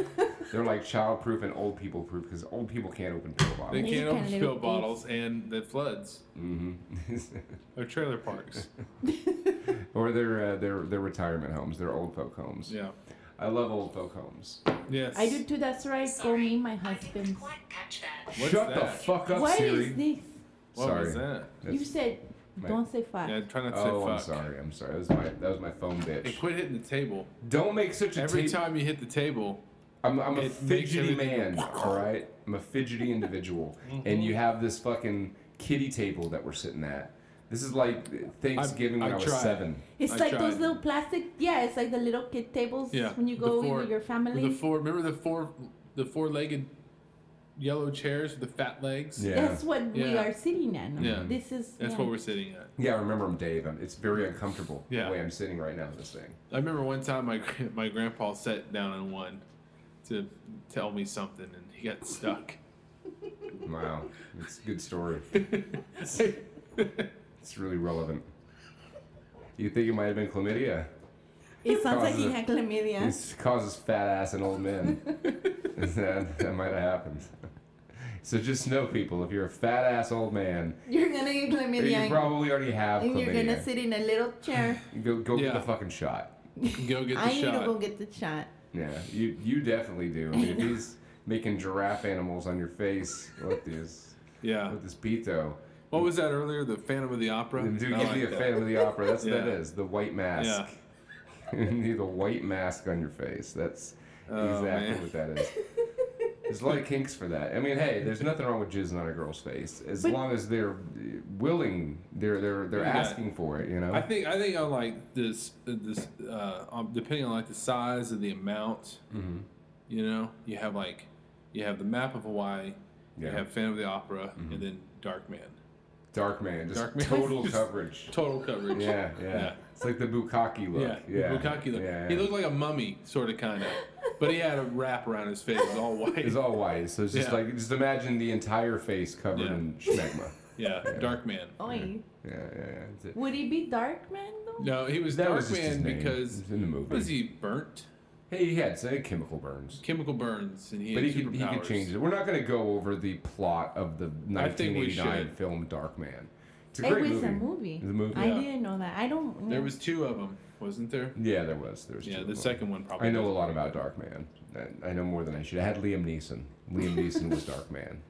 They're like childproof and old people proof because old people can't open pill they bottles. You can't can open live spill with bottles and the floods hmm or trailer parks. or their uh, their their retirement homes, their old folk homes. Yeah. I love old folk homes. Yes. I do too. That's right. Call me my husband. quite catch that. What's Shut the that? fuck up, What Siri. is this? What sorry. was that? That's- You said my- don't say fuck. Yeah, try not to Oh, say fuck. I'm sorry. I'm sorry. That was my that was my phone And bitch. quit hitting the table. Don't make such a Every tape. time you hit the table, I'm, I'm a It makes fidgety everything- Mm-hmm. man, all right? I'm a fidgety individual. And you have this fucking kitty table that we're sitting at. This is like Thanksgiving I when I, was tried. seven. It's I like tried. those little plastic. Yeah, it's like the little kid tables yeah. when you the go four- with your family. The four. Remember the four, the four-legged yellow chairs with the fat legs. Yeah. That's what we Yeah. are sitting at. Yeah. This is. That's yeah. what we're sitting at. Yeah, I remember him, Dave. I'm, it's very uncomfortable Yeah. the way I'm sitting right now with this thing. I remember one time my gra- my grandpa sat down on one to tell me something, and he got stuck. Wow. It's a good story. yeah, It's really relevant. You think it might have been chlamydia? It sounds like he Causes- had chlamydia. It causes fat ass and old men. that, that might have happened. So just know, people, if you're a fat ass old man, You're gonna get chlamydia. you probably already have and chlamydia. you're gonna sit in a little chair. Go go get Yeah. the fucking shot. Go get the I need to shot. go get the shot. Yeah, you you definitely do. I mean, if he's making giraffe animals on your face with this with this pito, What was that earlier? The Phantom of the Opera. then dude, I give like me a that. fan of the opera. That's what that Yeah. is the white mask. you need a white mask on your face. That's Oh, exactly man. what that is. There's a lot of kinks for that. I mean, hey, there's nothing wrong with jizzing on a girl's face as But- long as they're willing, they're they're they're Yeah. asking for it. You know. I think I think on like this this uh, um, depending on like the size and the amount, Mhm. you know, you have like you have the map of Hawaii, Yeah. Mm-hmm. you have Phantom of the Opera, and then Dark Man. Dark man, just Dark man. total Just- coverage. Total coverage. Yeah, yeah, Yeah. It's like the bukkake look. Yeah, Yeah, Bukaki looked. Yeah, He yeah. looked like a mummy, sort of, kind of, but he had a wrap around his face, it was all white. It's all white, so it's just Yeah. like just imagine the entire face covered Yeah. in schmegma. yeah, Dark Man. Oi. Yeah, yeah, yeah. That's it. Would it be dark man though? No, he was That Dark was just his Man name. because It was in the movie. was he burnt? Hey, he had some chemical burns, Chemical burns, and he but had he could he could superpowers. change it. We're not going to go over the plot of the I think we 1989 should. film Dark Man. It's a It great was movie. a movie. It's a movie. I Yeah. didn't know that. I don't. There was two of them, wasn't there? Yeah, there was. There was Yeah, two the of them. second one probably. I know a doesn't lot make about Dark Man. I, I know more than I should. I had Liam Neeson. Liam Neeson was Dark Man.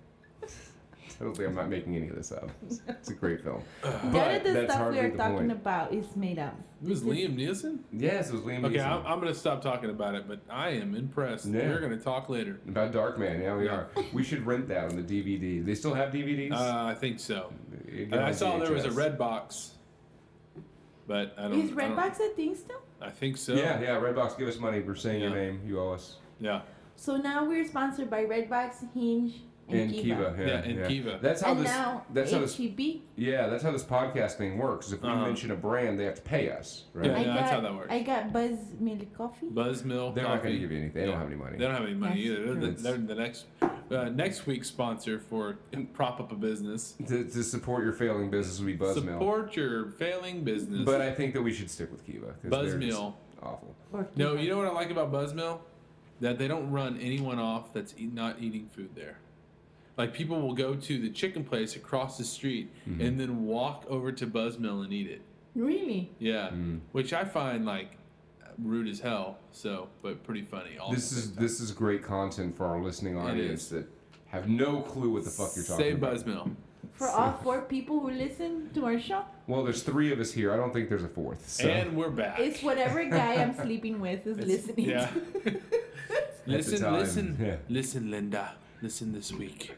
Totally, I'm not making any of this up. It's a great film. Uh, None of But the that's stuff we hardly are the talking point. about is made up. It was Liam Neeson? Yes, it was Liam Okay, Neeson. I'm, I'm gonna stop talking about it, but I am impressed. Yeah. We're gonna talk later. About Dark Man, yeah, we Yeah. are. We should rent that on the DVD. They still have DVDs. Uh, I think so. You get And I on saw there was a VHS. red box, but I don't. Is I, don't- Redbox a thing still? I think so. Yeah, yeah. Redbox, give us money. We're saying your Yeah. name. You owe us. yeah. So now we're sponsored by Redbox, Hinge, and, And Kiva. Kiva, yeah, Yeah, and Kiva. That's how and this. now E that's how this. HEB. Yeah, that's how this podcast thing works. Is if we Uh-huh. mention a brand, they have to pay us, right? Yeah. I no, got, that's how that works. I got Buzz Milk Coffee. Buzz Mill. They're not going Coffee. to give you anything. They Yeah. don't have any money. They don't have any money That's either. They're the, true. they're the next uh, next week's sponsor for prop up a business. To, to support your failing business would be Buzzmill. Support your failing business. But I think that we should stick with Kiva. 'cause they're just Buzzmill. Awful. or no, Kiva. you know what I like about Buzzmill? That they don't run anyone off that's eat, not eating food there. Like people will go to the chicken place across the street Mm-hmm. and then walk over to Buzzmill and eat it. Really? Yeah, Mm. which I find like rude as hell. So, but pretty funny. Also. This is this is great content for our listening is. audience that have no clue what the fuck you're talking say about. Buzzmill. For all four people who listen to our show, Well, there's three of us here. I don't think there's a fourth. So. And we're back. it's whatever guy I'm sleeping with is listening. yeah. to. listen, time, listen, yeah. listen, Linda. Listen this week.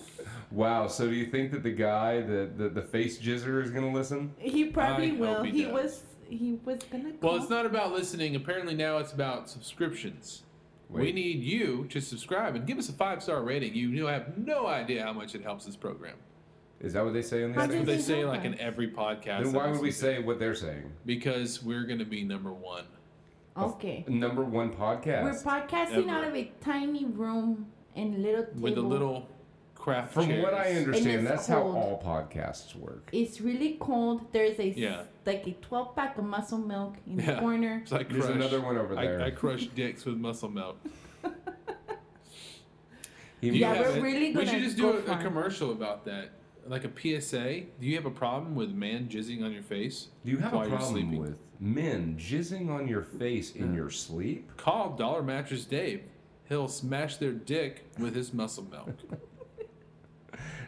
wow. So do you think that the guy, the the, the face jizzer, is gonna listen? he probably I hope will. he He does. was he was gonna. Well, call. it's not about listening. Apparently now it's about subscriptions. We Wait. need you to subscribe and give us a five star rating. You you have no idea how much it helps this program. Is that what they say in How these do things? That's what they they say help like in us? every podcast. Then why would we episode. say what they're saying? Because we're gonna be number one. Okay. Number one We're podcast. podcasting Ever. out of a tiny room and little table. With a little craft From chairs. what I understand, it's that's cold. how all podcasts work. It's really cold. There's a s- Yeah. like a 12 pack of muscle milk in Yeah. the corner. It's like There's crush- another one over I- there. I, crush dicks with muscle milk. He Do you Yeah, have we're it? really We gonna should just do go a, a far. commercial about that, like a PSA. Do you have a problem with a man jizzing on your face? Do you have a while you're problem sleeping? with men jizzing on your face in your sleep? Call Dollar Mattress Dave. He'll smash their dick with his muscle milk.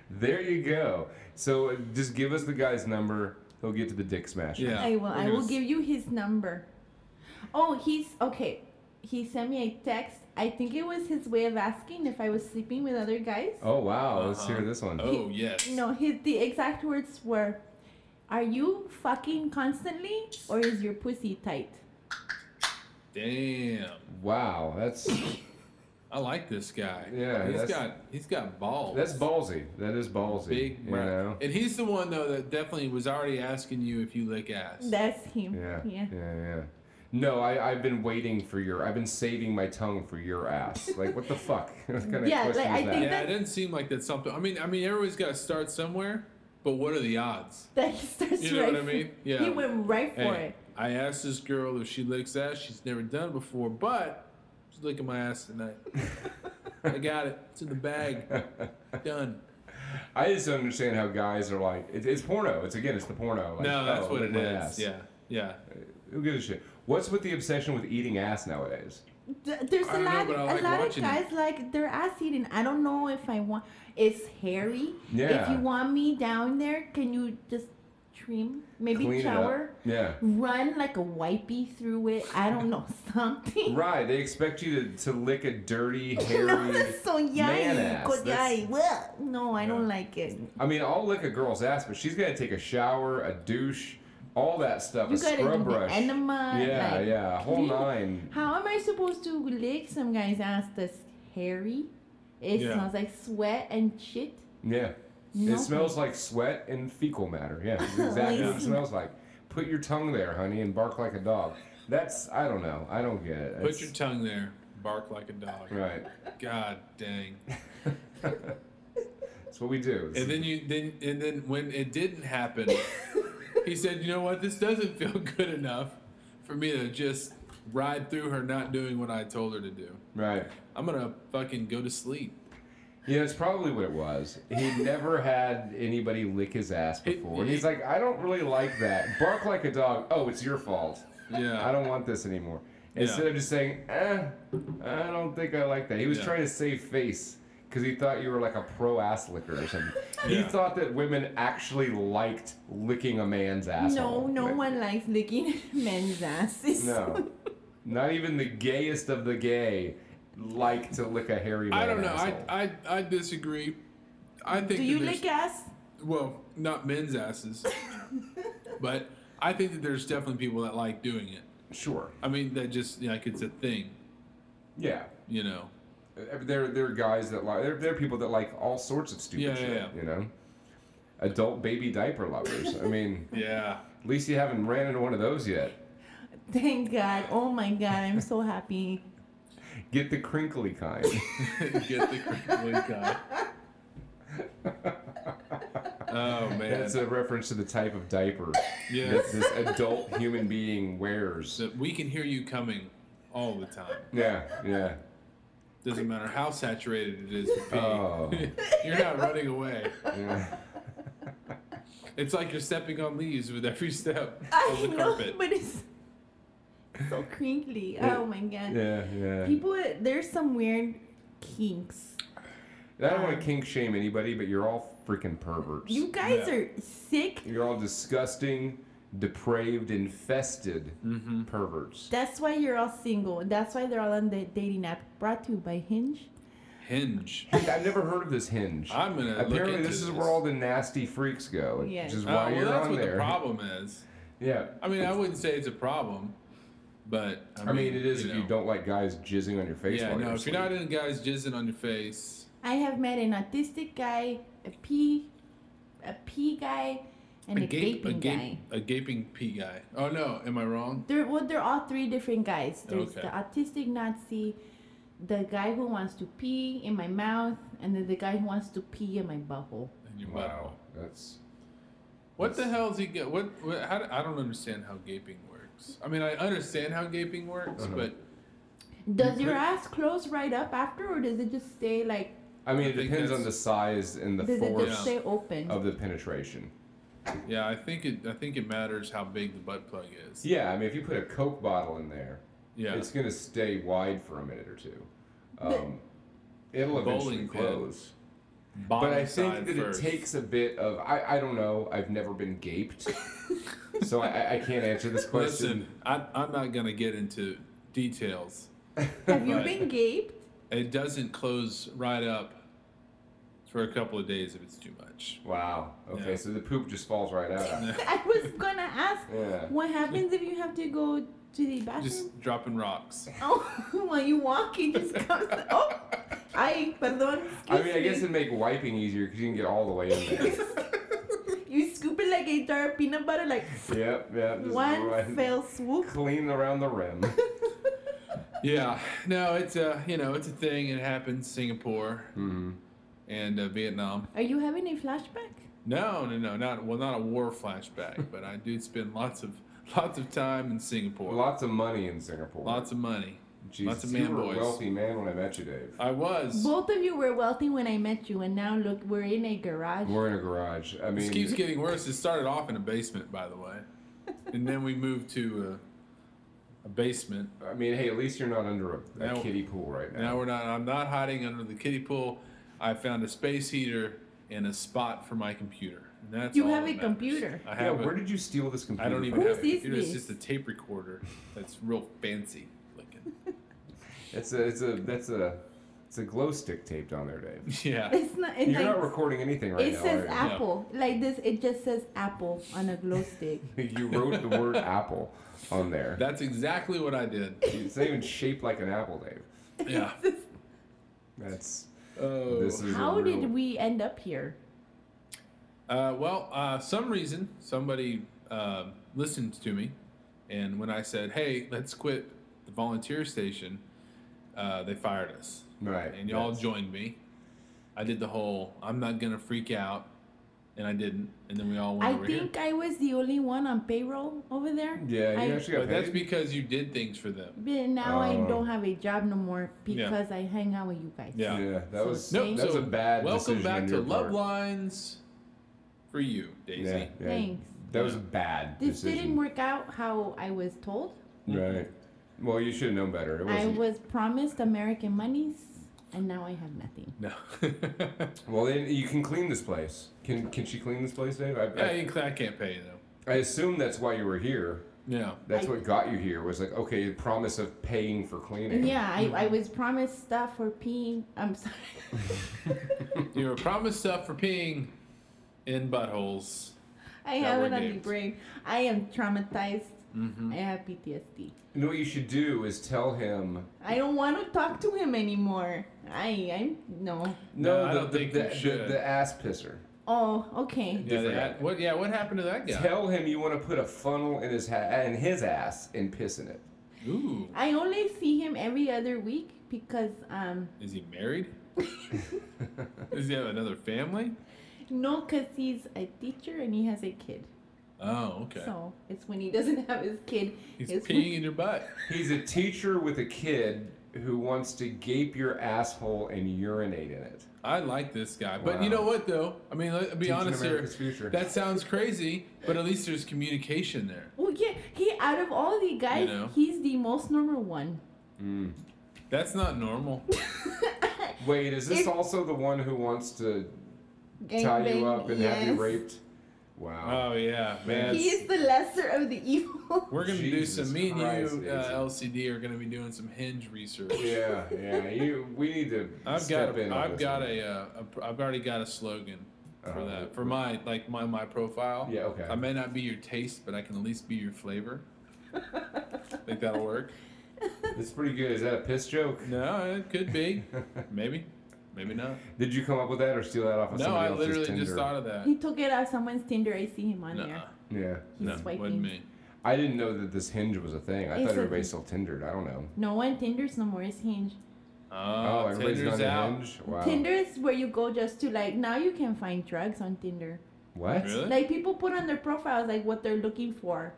There you go. So uh, just give us the guy's number. He'll get to the dick smash. Yeah. I will. we're I gonna will s- give you his number. Oh, he's okay. He sent me a text. I think it was his way of asking if I was sleeping with other guys. Oh wow. Let's hear Uh-huh. this one. Oh yes. No, his the exact words were, "Are you fucking constantly, or is your pussy tight?" Damn. Wow. That's I like this guy. Yeah, He's that's- got he's got balls. that's ballsy. That is ballsy. Big, you right. know? and he's the one though that definitely was already asking you if you lick ass. That's him. Yeah. Yeah. Yeah. Yeah. No, I, I've been waiting for your. I've been saving my tongue for your ass. Like, what the fuck? what kind of Yeah, question is like, I that? think- yeah, that- it doesn't seem like that's something. I mean, I mean, everybody's got to start somewhere, but what are the odds? That he starts You know right. what I mean? Yeah. He went right for Hey, it. I asked this girl if she licks ass. She's never done it before, but she's licking my ass tonight. I got it. It's in the bag. Done. I just don't understand how guys are like. It, it's porno. It's again. It's the porno. Like, No, that's oh, what lick it my is. ass. Yeah, yeah. Who gives a shit? What's with the obsession with eating ass nowadays? Th- There's I a don't know, lot, but I a like lot of watching it. guys like their ass eating. I don't know if I want. It's hairy. If Yeah. you want me down there, can you just trim? Maybe Clean shower. it up. Run like a wipey through it. I don't know something. Yeah. Right. They expect you to, to lick a dirty, hairy. no, that's so man yay. ass. Good That's- yay. Well, no, I don't like it. I mean, I'll lick a girl's ass, but she's got to take a shower, a douche, all that stuff, You a gotta scrub do the brush. enema. yeah, like, yeah, whole clean. nine. How am I supposed to lick some guy's ass that's hairy? It Yeah. smells like sweat and shit. Yeah. No. It smells like sweat and fecal matter. Yeah, that's exactly what it Lazy. smells like. Put your tongue there, honey, and bark like a dog. That's I don't know. I don't get it. Put your tongue there. Bark like a dog. your right. God dang. That's what we do. And then you then and then when it didn't happen, he said, "You know what? This doesn't feel good enough for me to just ride through her not doing what I told her to do. right. I'm gonna fucking go to sleep." Yeah, it's probably what it was. He never had anybody lick his ass It- before. And he's like, I don't really like that. Bark like a dog. Oh, it's your fault. Yeah. I don't want this anymore. Instead of just saying, eh, I don't think I like that. He was Yeah. trying to save face because he thought you were like a pro ass licker or something. He Yeah. thought that women actually liked licking a man's asshole. No, no Like, one likes licking men's asses. No. Not even the gayest of the gay like to lick a hairy man. I don't know. I, asshole. I I disagree. I think Do that you there's- lick ass? well, not men's asses, but I think that there's definitely people that like doing it. Sure. I mean, that just like it's a thing, Yeah. you know. Uh, There, there are guys that like. There, there are people that like all sorts of stupid Yeah, yeah, shit. yeah. You know, adult baby diaper lovers. I mean, Yeah. at least you haven't ran into one of those yet. Thank God. Oh my God, I'm so happy. Get the crinkly kind. Get the crinkly cut. Oh man. That's a reference to the type of diaper Yeah. that this adult human being wears. that we can hear you coming all the time. Yeah, yeah. Doesn't matter how saturated it is with pee. Oh. you're not running away. yeah. It's like you're stepping on leaves with every step I of the know, carpet. but it's so crinkly. Yeah. Oh my God. Yeah, yeah. People, there's some weird kinks. I don't want to kink shame anybody, but you're all freaking perverts. um, You guys Yeah. are sick. You're all disgusting, depraved, infested Mhm. perverts. That's why you're all single. That's why they're all on the dating app. Brought to you by Hinge. Hinge. I've never heard of this hinge. I'm gonna. look Apparently, into this is where all the nasty freaks go, Yes. which is Oh, why well, you're that's on what there. the problem is. Yeah. I mean, I wouldn't say it's a problem, but I mean, it is if you know. don't like guys jizzing on your face. Yeah, while no. you're If you're not asleep. in guys jizzing on your face, I have met an autistic guy, a pea, a pea guy, and a, gape- gaping gape- guy. a gaping pea guy. Oh no, am I wrong? They're well, they're all three different guys. There's Okay. the autistic Nazi, the guy who wants to pee in my mouth, and then the guy who wants to pee in my butthole. And your Wow, butthole. that's What the hell is he get? What? what how, do- I don't understand how gaping works. I mean, I understand how gaping works, Uh-huh. but Does You your put- ass close right up after, or does it just stay like? I mean, I it think depends on the that's- size and the Does it force Oh. just stay open? of the penetration. yeah, I think it. I think it matters how big the butt plug is. Yeah, I mean, if you put a Coke bottle in there, Yeah. it's going to stay wide for a minute or two. But- Um, it'll eventually Bowling pin. close. Bottom But I think side that first. it takes a bit of I, I don't know. I've never been gaped, so I- I, I can't answer this Listen, question. I, I'm not gonna get into details. Have you Right. been gaped? It doesn't close right up for a couple of days if it's too much. Wow. Okay, Yeah. so the poop just falls right out. I was gonna ask, Yeah. what happens if you have to go to the bathroom? Just dropping rocks. Oh, while you walk, it just comes. Oh, I I perdón. mean, I excuse guess it'd make wiping easier because you can get all the way in there. me. you scoop it like a jar of peanut butter, like yep, yep. just one right- fell swoop. Clean around the rim. Yeah, no, it's a you know it's a thing. It happens Singapore hmm and uh, Vietnam. Are you having a flashback? No, no, no, not well, not a war flashback, but I do spend lots of lots of time in Singapore. Lots of money in Singapore. lots of money. Jesus, lots of man you were boys. a wealthy man when I met you, Dave. I was. Both of you were wealthy when I met you, and now look, we're in a garage. We're in a garage. I this mean, keeps getting worse. It started off in a basement, by the way, and then we moved to a, a basement. I mean, hey, at least you're not under a, a Now- kiddie pool right now. Now we're not. I'm not hiding under the kiddie pool. I found a space heater and a spot for my computer. And that's You all have that a matters. computer. I yeah, have. a- where did you steal this computer? I don't even from? have a Who's this computer. It's with? just a tape recorder that's real fancy looking. It's a, it's a, that's a, it's a glow stick taped on there, Dave. Yeah. It's not. It's You're like, not recording anything right it now. says are Apple like this. It just says Apple on a glow stick. you? you wrote the word apple on there. That's exactly what I did. It's not even shaped like an apple, Dave. Yeah. That's Oh. this is. a How real- did we end up here? Uh, well, uh, some reason somebody uh, listened to me, and when I said, "Hey, let's quit the volunteer station," uh, they fired us, Right. and y'all that's- joined me. I did the whole "I'm not gonna freak out," and I didn't, and then we all went I over think here. I was the only one on payroll over there. Yeah, you I- actually got But that's paid? because you did things for them. But now I Oh. don't have a job no more Yeah. because I hang out with you guys. Yeah. Yeah, that So was Nope, that was a bad Welcome decision back on to your Love part. Lines for you, Daisy. Yeah, yeah. Thanks. That was a bad This decision. didn't work out how I was told. Right. Well, you should have known better. It I wasn't. was promised American monies, and now I have nothing. No. well, then you can clean this place. Can Can she clean this place, Dave? I, I, ain't- I can't pay you though. I, I assume that's why you were here. Yeah. That's I- what got you here. Was like, okay, the promise of paying for cleaning. And yeah, Mm-hmm. I, I was promised stuff for peeing. I'm sorry. You were promised stuff for peeing in buttholes. I Yeah, have we're it on the games. Mm-hmm. brain. I am traumatized. I have PTSD. You know what you should do is tell him. I don't want to talk to him anymore. I I'm no. No, I the, don't the, think the, you the- should. the ass pisser. Oh, okay. Yeah, Different that, guy. what? Yeah, what happened to that guy? Tell him you want to put a funnel in his ha- in his ass and piss in it. Ooh, I only see him every other week because um is he married? Does he have another family? no, because he's a teacher and he has a kid. Oh, okay. So it's when he doesn't have his kid. He's it's when- peeing in your butt. He's a teacher with a kid who wants to gape your asshole and urinate in it. I like this guy, but you Wow. know what though? I mean, let, be Teaching honest here. America's future. That sounds crazy, but at least there's communication there. Well, yeah, he out of all the guys, know. he's the most normal one. That's not normal. Wait, is this If- also the one who wants to tie Gangbang, you up and have yes. you raped? Wow. Oh yeah, man. He is the lesser of the evil. We're gonna do Jesus some. Me and Christ, you, Daisy. uh, LCD, are gonna be doing some hinge research. yeah, yeah. You, we need to I've got. step A, in. on I've this got one. a, uh, a. pr- I've already got a slogan. for Uh-huh. that for my like my my profile. Yeah, okay. I may not be your taste, but I can at least be your flavor. Think that'll work? Uh, It's pretty good. Is that a piss joke? No, it could be. Maybe, maybe not. Did you come up with that or steal that off of no, somebody I else's literally Tinder? just thought of that. He took it out of someone's Tinder. I see him on No, there. Yeah. He's no, swiping. wasn't me. I didn't know that this Hinge was a thing. I It's thought a- everybody still Tindered. I don't know. No one Tinder's no more. It's Hinge. Oh, Oh, everybody's Tinder's gone to out. Hinge. Wow. Tinder is where you go just to like. Now you can find drugs on Tinder. What? Really? Like people put on their profiles like what they're looking for.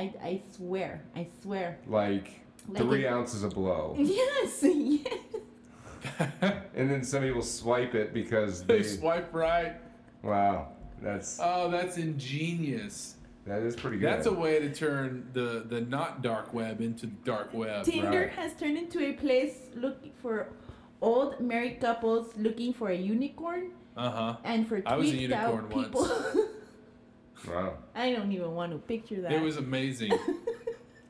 I I swear. I swear. Like Like three it- ounces of blow, Yes. Yes. and then somebody will swipe it because they they. swipe right. wow, that's Oh, that's ingenious. that is pretty good. That's a way to turn the the not dark web into dark web. Tinder Right. has turned into a place looking for old married couples looking for a unicorn Uh huh. and for tweaked I was a out unicorn people. wow. I don't even want to picture that. It was amazing.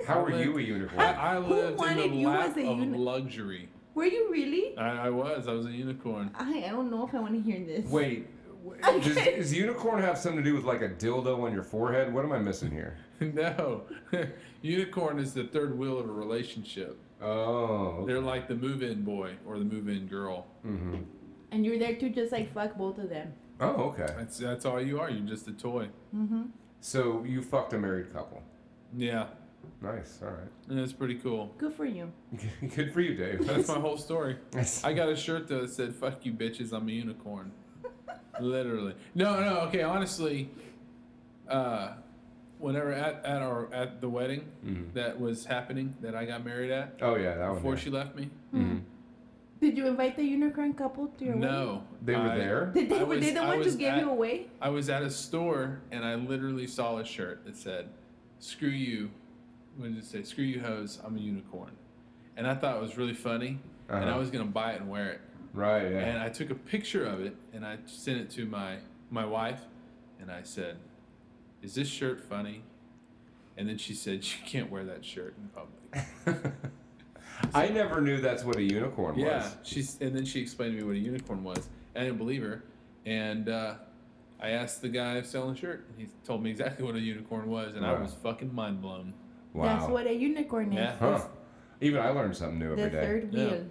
How I are you a lived- unicorn? I, I lived in wanted the you lap as a of uni- luxury. Were you really? I, I was. I was a unicorn. I, I don't know if I want to hear this. Wait. w- Okay. Does, does unicorn have something to do with like a dildo on your forehead? What am I missing here? no, unicorn is the third wheel of a relationship. Oh, They're like the move-in boy or the move-in girl. mm-hmm. And you're there to just like fuck both of them. oh, okay. That's that's all you are. You're just a toy. So you fucked a married couple. Yeah, Nice. All right. and that's pretty cool. Good for you. Good for you, Dave. That's my whole story. That's- I got a shirt though that said "Fuck you, bitches. I'm a unicorn." Literally. No, no. Okay, honestly, uh, whenever at, at our at the wedding that was happening that I got married at Mm-hmm. oh yeah, that one. before yeah. she left me. Did you invite the unicorn couple to your No, They were I- there. wedding? Did I they, were was- they the I ones was who gave at- you away? I was at a store and I literally saw a shirt that said, "Screw you." What did it say? "Screw you, hoes. I'm a unicorn," and I thought it was really funny, and I Uh-huh. was gonna buy it and wear it. Right. Yeah. And I took a picture of it and I sent it to my my wife and I said, "Is this shirt funny?" And then she said, "You can't wear that shirt in public." I never knew that's what a unicorn yeah, was. she's and then she explained to me what a unicorn was. I didn't believe her, and uh, I asked the guy selling the shirt. And he told me exactly what a unicorn was, and I Wow. was fucking mind blown. Wow. That's what a unicorn is. Yeah. Huh. Even I learned something new The every day. third Yeah. wheel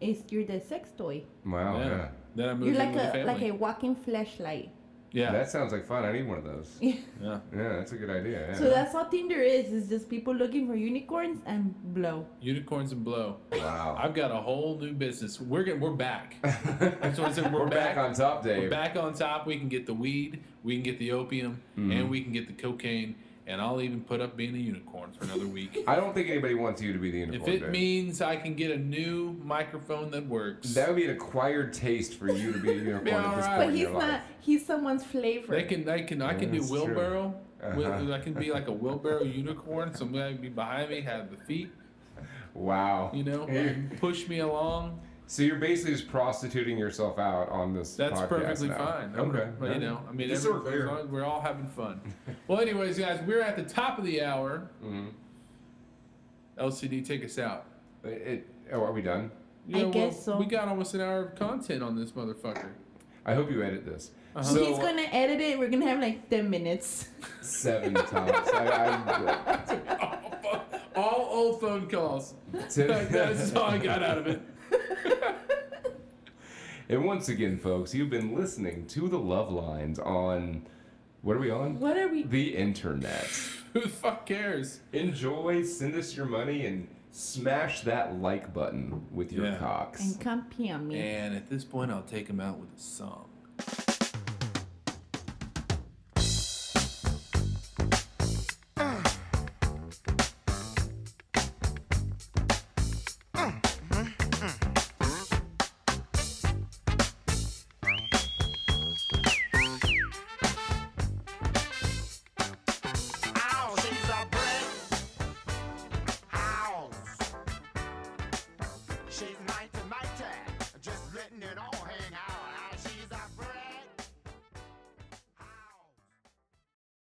is you're the sex toy. Wow. Oh, Yeah. yeah. Then I moved You're in like with the a family. like a walking flashlight. yeah. That sounds like fun. I need one of those. Yeah. yeah. Yeah, that's a good idea. Yeah. So that's all Tinder is, is just people looking for unicorns and blow. Unicorns and blow. wow. I've got a whole new business. We're getting, we're back. That's what I said. We're, back, on top, Dave. We're back on top. We can get the weed, we can get the opium, Mm-hmm. and we can get the cocaine. And I'll even put up being a unicorn for another week. I don't think anybody wants you to be the if unicorn. it Dave. means I can get a new microphone that works, that would be an acquired taste for you to be a unicorn at this alright. point But in he's your life. not he's someone's flavor. they can, I can, I can do That's true. wheelbarrow. Wheel- Uh-huh. I can be like a wheelbarrow unicorn. Somebody be behind me, have the feet, Wow. you know, push me along. So you're basically just prostituting yourself out on this. That's podcast perfectly now. fine. Okay. But, you know, I mean, Just so we're every- as clear. long as we're all having fun. well, anyways, guys, we're at the top of the hour. Mhm. LCD, take us out. It- oh, are we done? I guess so. We got almost an hour of content on this motherfucker. I hope you edit this. Uh-huh. So, he's gonna edit it, we're gonna have like ten minutes. seven times. I, all old phone calls. I, to- That's all I got out of it. And once again, folks, you've been listening to the Love Lines on. What are we on? What are we The internet. Who the fuck cares? Enjoy, send us your money, and smash that like button with your Yeah. cocks. and come pee on me. And at this point, I'll take him out with a song.